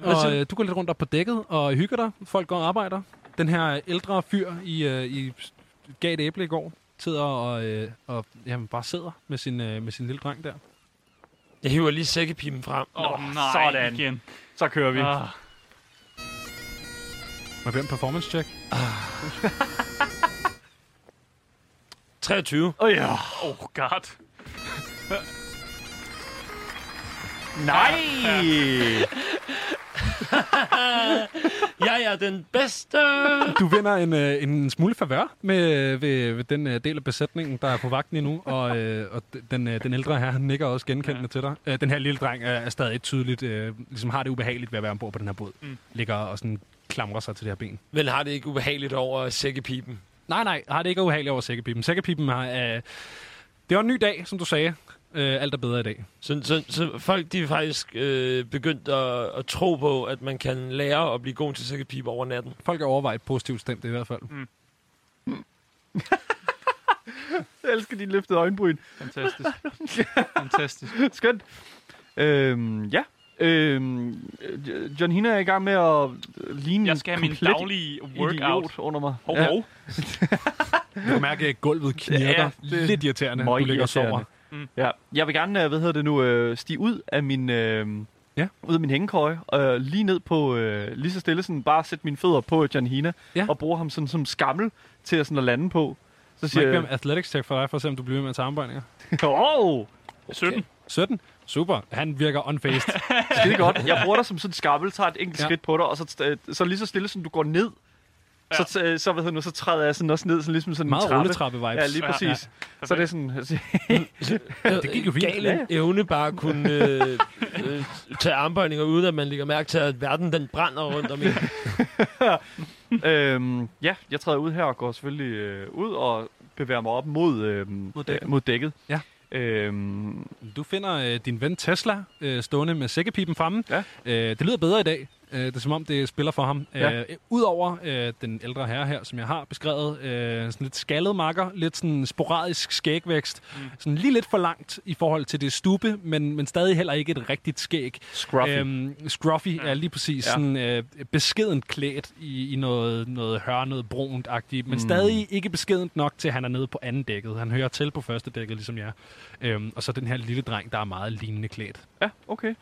[SPEAKER 4] siger
[SPEAKER 1] Og
[SPEAKER 4] du?
[SPEAKER 1] øh, du går lidt rundt op på dækket og hygger dig. Folk går og arbejder. Den her ældre fyr i, øh, i gav et æble i går, sidder og, øh, og jamen, bare sidder med sin, øh, med sin lille dreng der.
[SPEAKER 4] Jeg hiver lige sækkepipen frem.
[SPEAKER 3] Nå,
[SPEAKER 2] Nå,
[SPEAKER 3] nej,
[SPEAKER 2] sådan.
[SPEAKER 3] igen.
[SPEAKER 2] Så kører vi.
[SPEAKER 3] Ah,
[SPEAKER 1] Med hvem performance check?
[SPEAKER 4] 23.
[SPEAKER 2] Åh ja.
[SPEAKER 3] oh god.
[SPEAKER 2] Nej!
[SPEAKER 4] Jeg er den bedste!
[SPEAKER 1] Du vinder en, øh, en smule favør med, ved, ved den øh, del af besætningen, der er på vagten endnu, og, øh, og d- den, øh, den ældre her, han nikker også genkendende ja. til dig. Øh, den her lille dreng er, er stadig tydeligt, øh, ligesom har det ubehageligt ved at være ombord på den her båd. Mm. Ligger og sådan klamrer sig til det her ben.
[SPEAKER 4] Men har det ikke ubehageligt over sækkepipen?
[SPEAKER 1] Nej, nej, har det ikke været ubehageligt over sækkepipen. Sækkepipen har... Øh, det var en ny dag, som du sagde. Øh, alt er bedre i dag.
[SPEAKER 4] Så, så, så folk de er faktisk øh, begyndt at, at tro på, at man kan lære at blive god til sækkepipe over natten.
[SPEAKER 1] Folk er overvejet positivt stemt i hvert fald.
[SPEAKER 2] Mm. Jeg elsker dine løftede øjenbryn.
[SPEAKER 3] Fantastisk. Fantastisk.
[SPEAKER 2] Skønt. Øhm, ja. Øhm, øh, John Hina er i gang med at øh, ligne
[SPEAKER 3] Jeg skal have
[SPEAKER 2] en
[SPEAKER 3] min
[SPEAKER 2] komplet
[SPEAKER 3] daglige workout.
[SPEAKER 2] idiot under mig.
[SPEAKER 3] Hov,
[SPEAKER 2] Ja.
[SPEAKER 3] hov.
[SPEAKER 1] Du kan mærke, at gulvet knirker.
[SPEAKER 2] Ja,
[SPEAKER 1] Ja,
[SPEAKER 2] det er
[SPEAKER 1] Lidt irriterende, du
[SPEAKER 2] møg
[SPEAKER 1] ligger og sover.
[SPEAKER 2] irriterende. Ja, jeg vil gerne, øh, hvad hedder det nu, øh, stige ud af min, øh,
[SPEAKER 1] Ja.
[SPEAKER 2] ja. ud af min hængekøje, og lige ned på, øh, lige så stille, sådan, bare sætte mine fødder på John Hina,
[SPEAKER 1] Ja.
[SPEAKER 2] ja. og bruge ham sådan, som skammel til at, sådan, at lande på. Så
[SPEAKER 1] Så jeg
[SPEAKER 2] siger
[SPEAKER 1] ikke
[SPEAKER 2] jeg,
[SPEAKER 1] bede om athletics check for dig, for at se, om du bliver ved med at tage armbøjninger.
[SPEAKER 2] åh,
[SPEAKER 3] 17.
[SPEAKER 1] 17. Super. Han virker unfaced.
[SPEAKER 2] skide godt. Jeg bruger dig som sådan en skammel, tager et enkelt
[SPEAKER 1] Ja.
[SPEAKER 2] ja. skridt på dig, og så, øh, så lige så stille, som du går ned, ja. så, øh, så, hvad hedder det nu, så træder jeg sådan også ned, sådan, ligesom sådan
[SPEAKER 1] Meget
[SPEAKER 2] en trappe.
[SPEAKER 1] rulletrappe-vibes.
[SPEAKER 2] Ja, lige
[SPEAKER 3] Ja,
[SPEAKER 2] præcis. Så det er sådan, altså,
[SPEAKER 1] Det gik jo fint.
[SPEAKER 4] Gal
[SPEAKER 1] Ja, ja.
[SPEAKER 4] en evne bare at kunne øh, øh, tage armbøjninger ud, at man lægger mærke til, at verden den brænder rundt om en.
[SPEAKER 2] øhm, ja, jeg træder ud her og går selvfølgelig øh, ud og bevæger mig op mod, øhm,
[SPEAKER 1] Mod dækket.
[SPEAKER 2] Øh, mod dækket.
[SPEAKER 1] Ja.
[SPEAKER 2] Øhm,
[SPEAKER 1] Du finder øh, din ven Tesla øh, stående med sækkepipen fremme.
[SPEAKER 2] Ja.
[SPEAKER 1] Øh, det lyder bedre i dag. Øh, det er som om, det spiller for ham.
[SPEAKER 2] Ja.
[SPEAKER 1] Øh, Udover øh, den ældre herre her, som jeg har beskrevet, øh, sådan lidt skaldet makker, lidt sådan sporadisk skægvækst, mm. sådan lige lidt for langt i forhold til det stube, men, men stadig heller ikke et rigtigt skæg.
[SPEAKER 2] Scruffy.
[SPEAKER 1] Øhm, scruffy ja. er lige præcis ja.
[SPEAKER 2] Ja.
[SPEAKER 1] sådan øh, beskedent klædt i, i noget, noget hør, noget brunt-agtigt, men mm. stadig ikke beskedent nok til, at han er nede på anden dækket. Han hører til på første dækket, ligesom jeg. Øhm, og så den her lille dreng, der er meget lignende klædt.
[SPEAKER 2] ja, okay.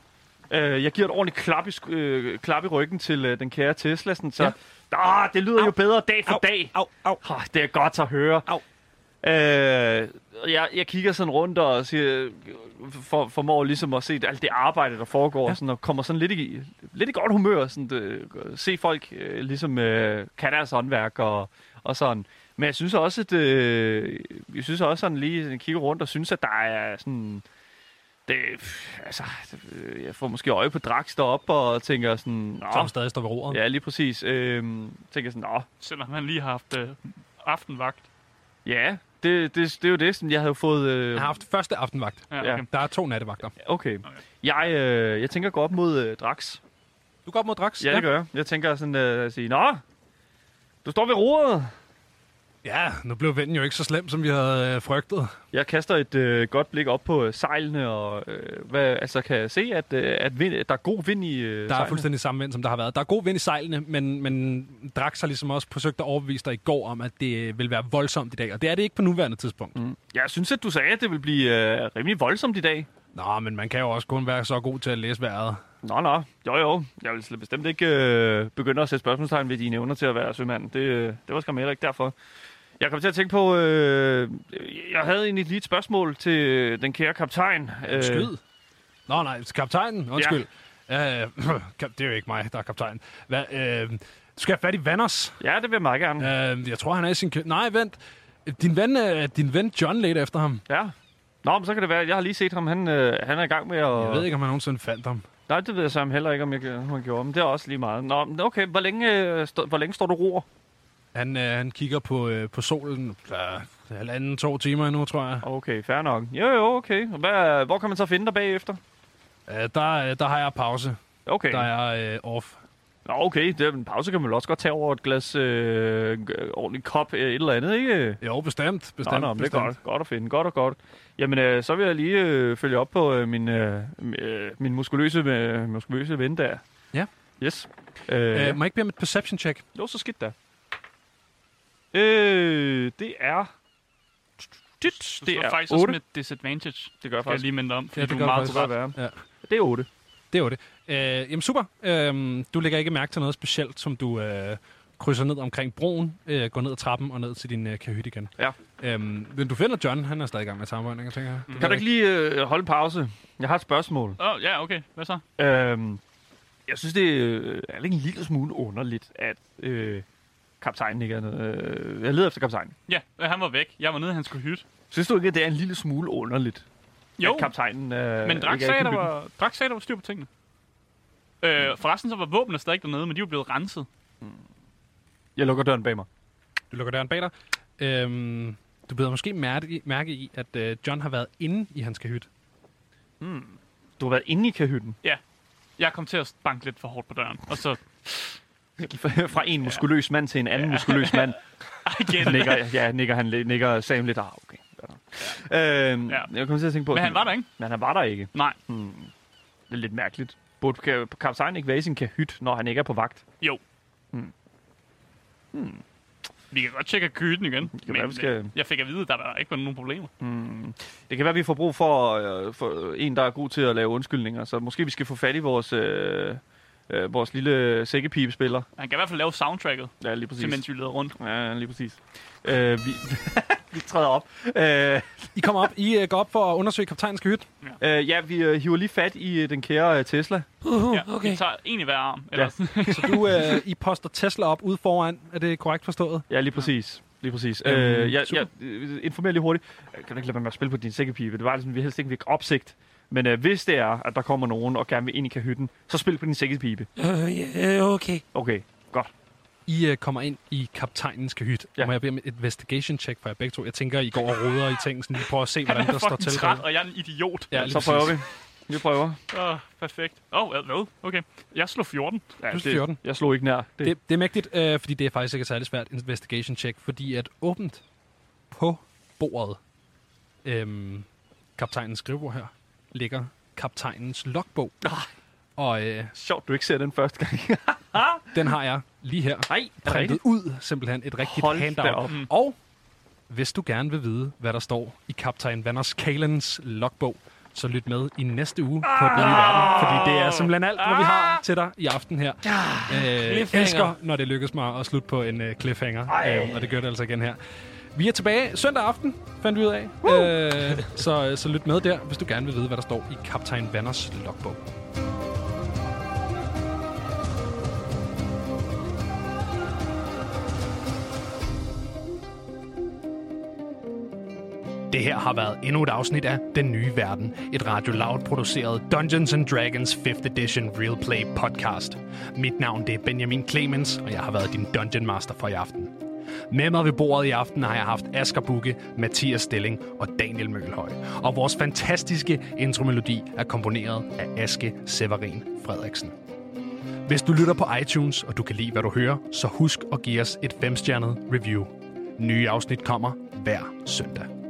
[SPEAKER 2] Øh, jeg giver et ordentligt klap i, sk- øh, klap i ryggen til øh, den kære Tesla, sådan, så ah, det lyder au. jo bedre dag for au. dag.
[SPEAKER 1] Au, au.
[SPEAKER 2] Oh, det er godt at høre.
[SPEAKER 1] Au.
[SPEAKER 2] Øh, jeg, jeg kigger sådan rundt og siger, for, formår ligesom at se alt det arbejde, der foregår,
[SPEAKER 1] Ja.
[SPEAKER 2] ja. sådan, og kommer sådan lidt i, lidt i godt humør. Sådan, øh, se folk øh, ligesom øh, kan deres håndværk og, og sådan. Men jeg synes også, at øh, jeg synes også sådan lige sådan, kigger rundt og synes, at der er sådan... Det, pff, altså, øh, jeg får måske øje på Drax deroppe og tænker sådan... "Nå,
[SPEAKER 1] Som stadig står ved roret.
[SPEAKER 2] Ja, lige præcis. Øh, tænker sådan, åh,
[SPEAKER 3] Selvom han lige har haft øh, aftenvagt.
[SPEAKER 2] Ja, det, det, det er jo det, som jeg havde fået... Øh,
[SPEAKER 1] Han har haft første aftenvagt.
[SPEAKER 3] Ja, okay.
[SPEAKER 2] Ja.
[SPEAKER 1] Der er to nattevagter.
[SPEAKER 2] okay. Jeg, øh, jeg tænker gå op mod øh, Drax.
[SPEAKER 1] Du går op mod Drax.
[SPEAKER 2] Ja, det gør jeg. Jeg tænker sådan øh, at sige, Nå, du står ved roret.
[SPEAKER 1] Ja, nu blev vennen jo ikke så slem, som vi havde øh, frygtet.
[SPEAKER 2] Jeg kaster et øh, godt blik op på øh, sejlene, og øh, hvad, altså, kan jeg se, at, øh, at vind, der er god vind i øh,
[SPEAKER 1] Der er
[SPEAKER 2] sejlene?
[SPEAKER 1] fuldstændig samme vind, som der har været. Der er god vind i sejlene, men, men Drax har ligesom også forsøgt at overbevise dig i går om, at det øh, vil være voldsomt i dag. Og det er det ikke på nuværende tidspunkt. Mm.
[SPEAKER 2] Jeg synes, at du sagde, at det ville blive øh, rimelig voldsomt i dag.
[SPEAKER 1] Nå, men man kan jo også kun være så god til at læse vejret.
[SPEAKER 2] Nå, nå. Jo, jo. Jeg vil slet bestemt ikke øh, begynde at sætte spørgsmålstegn ved dine evner til at være sømand. Det, øh, det var skam heller ikke derfor. Jeg kom til at tænke på, øh, jeg havde egentlig lige et spørgsmål til øh, den kære kaptajn. Øh,
[SPEAKER 1] Skyd. Nå nej, kaptajnen. Undskyld. Ja. Øh, kap- det er jo ikke mig, der er kaptajn. Hvad, øh, du skal have fat i Vanders.
[SPEAKER 2] Ja, det vil jeg meget gerne. Ja.
[SPEAKER 1] Øh, jeg tror, han er i sin kø... Nej, vent. Din ven, øh, din ven John ledte efter ham.
[SPEAKER 2] ja. Nå, men så kan det være, at jeg har lige set ham. Han, øh, han er i gang med at...
[SPEAKER 1] Jeg ved ikke, om han nogensinde fandt ham.
[SPEAKER 2] Nej, det ved jeg sammen heller ikke, om jeg gjorde- om han gjorde, men det er også lige meget. Nå, men okay, hvor længe, øh, stå, hvor længe står du roer?
[SPEAKER 1] Han, øh, han kigger på, øh, på solen. Ja, halvanden, to timer endnu, tror jeg.
[SPEAKER 2] Okay, fair nok. Jo, jo, okay. Og Hvad, hvor kan man så finde dig bagefter?
[SPEAKER 1] Øh, der, øh, der har jeg pause.
[SPEAKER 2] Okay.
[SPEAKER 1] Der er øh, off.
[SPEAKER 2] Nå, okay, det, en pause kan man vel også godt tage over et glas øh, g- ordentligt kop, øh, et eller andet, ikke?
[SPEAKER 1] Jo, bestemt.
[SPEAKER 2] Nå,
[SPEAKER 1] bestemt
[SPEAKER 2] nå, men det er
[SPEAKER 1] bestemt.
[SPEAKER 2] godt, godt at finde, godt og godt. Jamen, øh, så vil jeg lige øh, følge op på øh, min, øh, øh, min muskuløse, øh, muskuløse ven der.
[SPEAKER 1] Ja.
[SPEAKER 2] Yes. Øh,
[SPEAKER 1] Øh, må jeg ikke bede om et perception check?
[SPEAKER 2] Jo, så skidt da. Øh, det er... Dit,
[SPEAKER 3] Du
[SPEAKER 2] det
[SPEAKER 3] slår
[SPEAKER 2] er
[SPEAKER 3] faktisk
[SPEAKER 2] 8.
[SPEAKER 3] også med disadvantage.
[SPEAKER 2] Det gør jeg
[SPEAKER 3] Skal jeg
[SPEAKER 2] faktisk.
[SPEAKER 3] lige minde dig om, fordi
[SPEAKER 1] det
[SPEAKER 3] ja, du
[SPEAKER 1] gør
[SPEAKER 3] er
[SPEAKER 1] jeg
[SPEAKER 3] meget
[SPEAKER 1] faktisk.
[SPEAKER 3] træt.
[SPEAKER 2] være.
[SPEAKER 1] Ja.
[SPEAKER 2] Det er 8.
[SPEAKER 1] Det var det. Øh, jamen super. Øh, du lægger ikke mærke til noget specielt, som du øh, krydser ned omkring broen, øh, går ned ad trappen og ned til din øh, kahyt igen.
[SPEAKER 2] Ja.
[SPEAKER 1] Øh, men du finder John, han er stadig i gang med sammenbøjninger, tænker jeg. Mm.
[SPEAKER 2] Kan du ikke lige øh, holde en pause? Jeg har et spørgsmål.
[SPEAKER 3] Åh, oh, ja, okay. Hvad så?
[SPEAKER 2] Øhm, jeg synes, det øh, er en lille smule underligt, at øh, kaptajnen ikke er noget. Øh, jeg leder efter kaptajnen.
[SPEAKER 3] Ja, øh, han var væk. Jeg var nede, han skulle hytte.
[SPEAKER 2] Synes du ikke, at det er en lille smule underligt,
[SPEAKER 3] Jo,
[SPEAKER 2] at kaptajnen øh,
[SPEAKER 3] men Drax
[SPEAKER 2] ikke er i
[SPEAKER 3] sagde, der
[SPEAKER 2] byen?
[SPEAKER 3] var, Drax sagde, der var styr på tingene. Øh, forresten så var våbnene stadig dernede, men de var blevet renset.
[SPEAKER 2] Jeg lukker døren bag mig.
[SPEAKER 1] Du lukker døren bag dig. Øh, du beder måske mærke i, mærke i at øh, John har været inde i hans kahyt.
[SPEAKER 2] Du har været inde i kahytten.
[SPEAKER 3] Jeg kom til at banke lidt for hårdt på døren, og så...
[SPEAKER 2] Fra en muskuløs mand til en anden muskuløs mand.
[SPEAKER 3] Igen.
[SPEAKER 2] nikker, ja, nikker, han, lidt- nikker Sam lidt. Ah, okay. fair nok. Øhm,
[SPEAKER 3] Ja.
[SPEAKER 2] ja. Jeg kom til at tænke på...
[SPEAKER 3] Men han var der ikke.
[SPEAKER 2] Men han var der ikke.
[SPEAKER 3] Nej,
[SPEAKER 2] Det er lidt mærkeligt. Burde ka- kaptajnen ikke være i sin kahyt, når han ikke er på vagt?
[SPEAKER 3] jo.
[SPEAKER 2] Hmm.
[SPEAKER 3] Hmm. Vi kan godt tjekke kyten igen.
[SPEAKER 2] kan være, vi skal-
[SPEAKER 3] øh, jeg fik at vide, at der, der ikke var nogen problemer.
[SPEAKER 2] Det kan være, vi får brug for, øh, for en, der er god til at lave undskyldninger. Så måske vi skal få fat i vores, øh, øh, vores lille sækkepibespiller.
[SPEAKER 3] Han kan i hvert fald lave soundtracket,
[SPEAKER 2] Ja, lige
[SPEAKER 3] til
[SPEAKER 2] præcis.
[SPEAKER 3] mens vi leder rundt.
[SPEAKER 2] Ja, lige præcis. Øh, vi, vi træder op. Øh,
[SPEAKER 1] I kommer op, I øh, går op for at undersøge kaptajnens kahyt.
[SPEAKER 2] øh, ja, vi øh, hiver lige fat i øh, den kære øh, Tesla.
[SPEAKER 4] Uh,
[SPEAKER 3] Ja, okay. Vi tager en i hver arm. Eller
[SPEAKER 2] Ja.
[SPEAKER 3] sådan.
[SPEAKER 1] Så du, øh, I poster Tesla op ude foran. Er det korrekt forstået?
[SPEAKER 2] Ja, lige præcis. Lige præcis.
[SPEAKER 1] Øhm,
[SPEAKER 2] Øh, jeg,
[SPEAKER 1] super.
[SPEAKER 2] jeg øh, informerer lige hurtigt. Øh, Kan du ikke lade være med at spille på din sækkepibe? Det var ligesom, vi helst ikke fik opsigt. Men øh, hvis det er, at der kommer nogen og gerne vil ind i kahytten, så spil på din sækkepibe.
[SPEAKER 4] Uh, yeah, okay.
[SPEAKER 2] Okay, godt.
[SPEAKER 1] I øh, kommer ind i kaptajnens kahyt. Ja.
[SPEAKER 2] Ja.
[SPEAKER 1] Må jeg bede om et investigation check for jer begge to? Jeg tænker, I går og roder i ting, sådan lige prøver at se,
[SPEAKER 3] Han
[SPEAKER 1] hvordan
[SPEAKER 3] er
[SPEAKER 1] der står
[SPEAKER 3] fucking
[SPEAKER 1] til.
[SPEAKER 3] træt, og jeg er en idiot.
[SPEAKER 1] Ja,
[SPEAKER 2] Ja,
[SPEAKER 1] lige
[SPEAKER 2] så prøver vi. Vi prøver.
[SPEAKER 3] Åh, perfekt. Åh, oh, hvad? Okay. Jeg slog 14.
[SPEAKER 2] Ja,
[SPEAKER 1] Du slog 14.
[SPEAKER 2] Jeg slog ikke nær. Det, det.
[SPEAKER 1] Det, det er mægtigt, øh, fordi det er faktisk ikke et særlig svært investigation check, fordi at åbent på bordet, øhm, kaptajnens skrivebord her, ligger kaptajnens logbog. Og øh,
[SPEAKER 2] Sjovt, du ikke ser den første gang.
[SPEAKER 1] den har jeg lige her
[SPEAKER 2] Nej,
[SPEAKER 1] printet ud, simpelthen et rigtigt
[SPEAKER 2] Hold da
[SPEAKER 1] handout.
[SPEAKER 2] op. Mm.
[SPEAKER 1] Og hvis du gerne vil vide, hvad der står i kaptajn Vanders Kalens logbog, så lyt med i næste uge på Den Nye Verden, fordi det er simpelthen alt, hvad vi har
[SPEAKER 2] Ah.
[SPEAKER 1] til dig i aften her. Jeg øh,
[SPEAKER 4] cliffhanger.
[SPEAKER 1] elsker, når det lykkes mig at slutte på en øh, cliffhanger, øh, og det gør det altså igen her. Vi er tilbage søndag aften, fandt vi ud af. Øh, så, så lyt med der, hvis du gerne vil vide, hvad der står i kaptajn Vanders logbog. Det her har været endnu et afsnit af Den Nye Verden, et Radio Loud produceret Dungeons and Dragons 5th Edition Real Play podcast. Mit navn det er Benjamin Clemens, og jeg har været din Dungeon Master for i aften. Med mig ved bordet i aften har jeg haft Asger Bukke, Mathias Stilling og Daniel Møgelhøj. Og vores fantastiske intromelodi er komponeret af Aske Severin Frederiksen. Hvis du lytter på iTunes, og du kan lide, hvad du hører, så husk at give os et femstjernet review. Nye afsnit kommer hver søndag.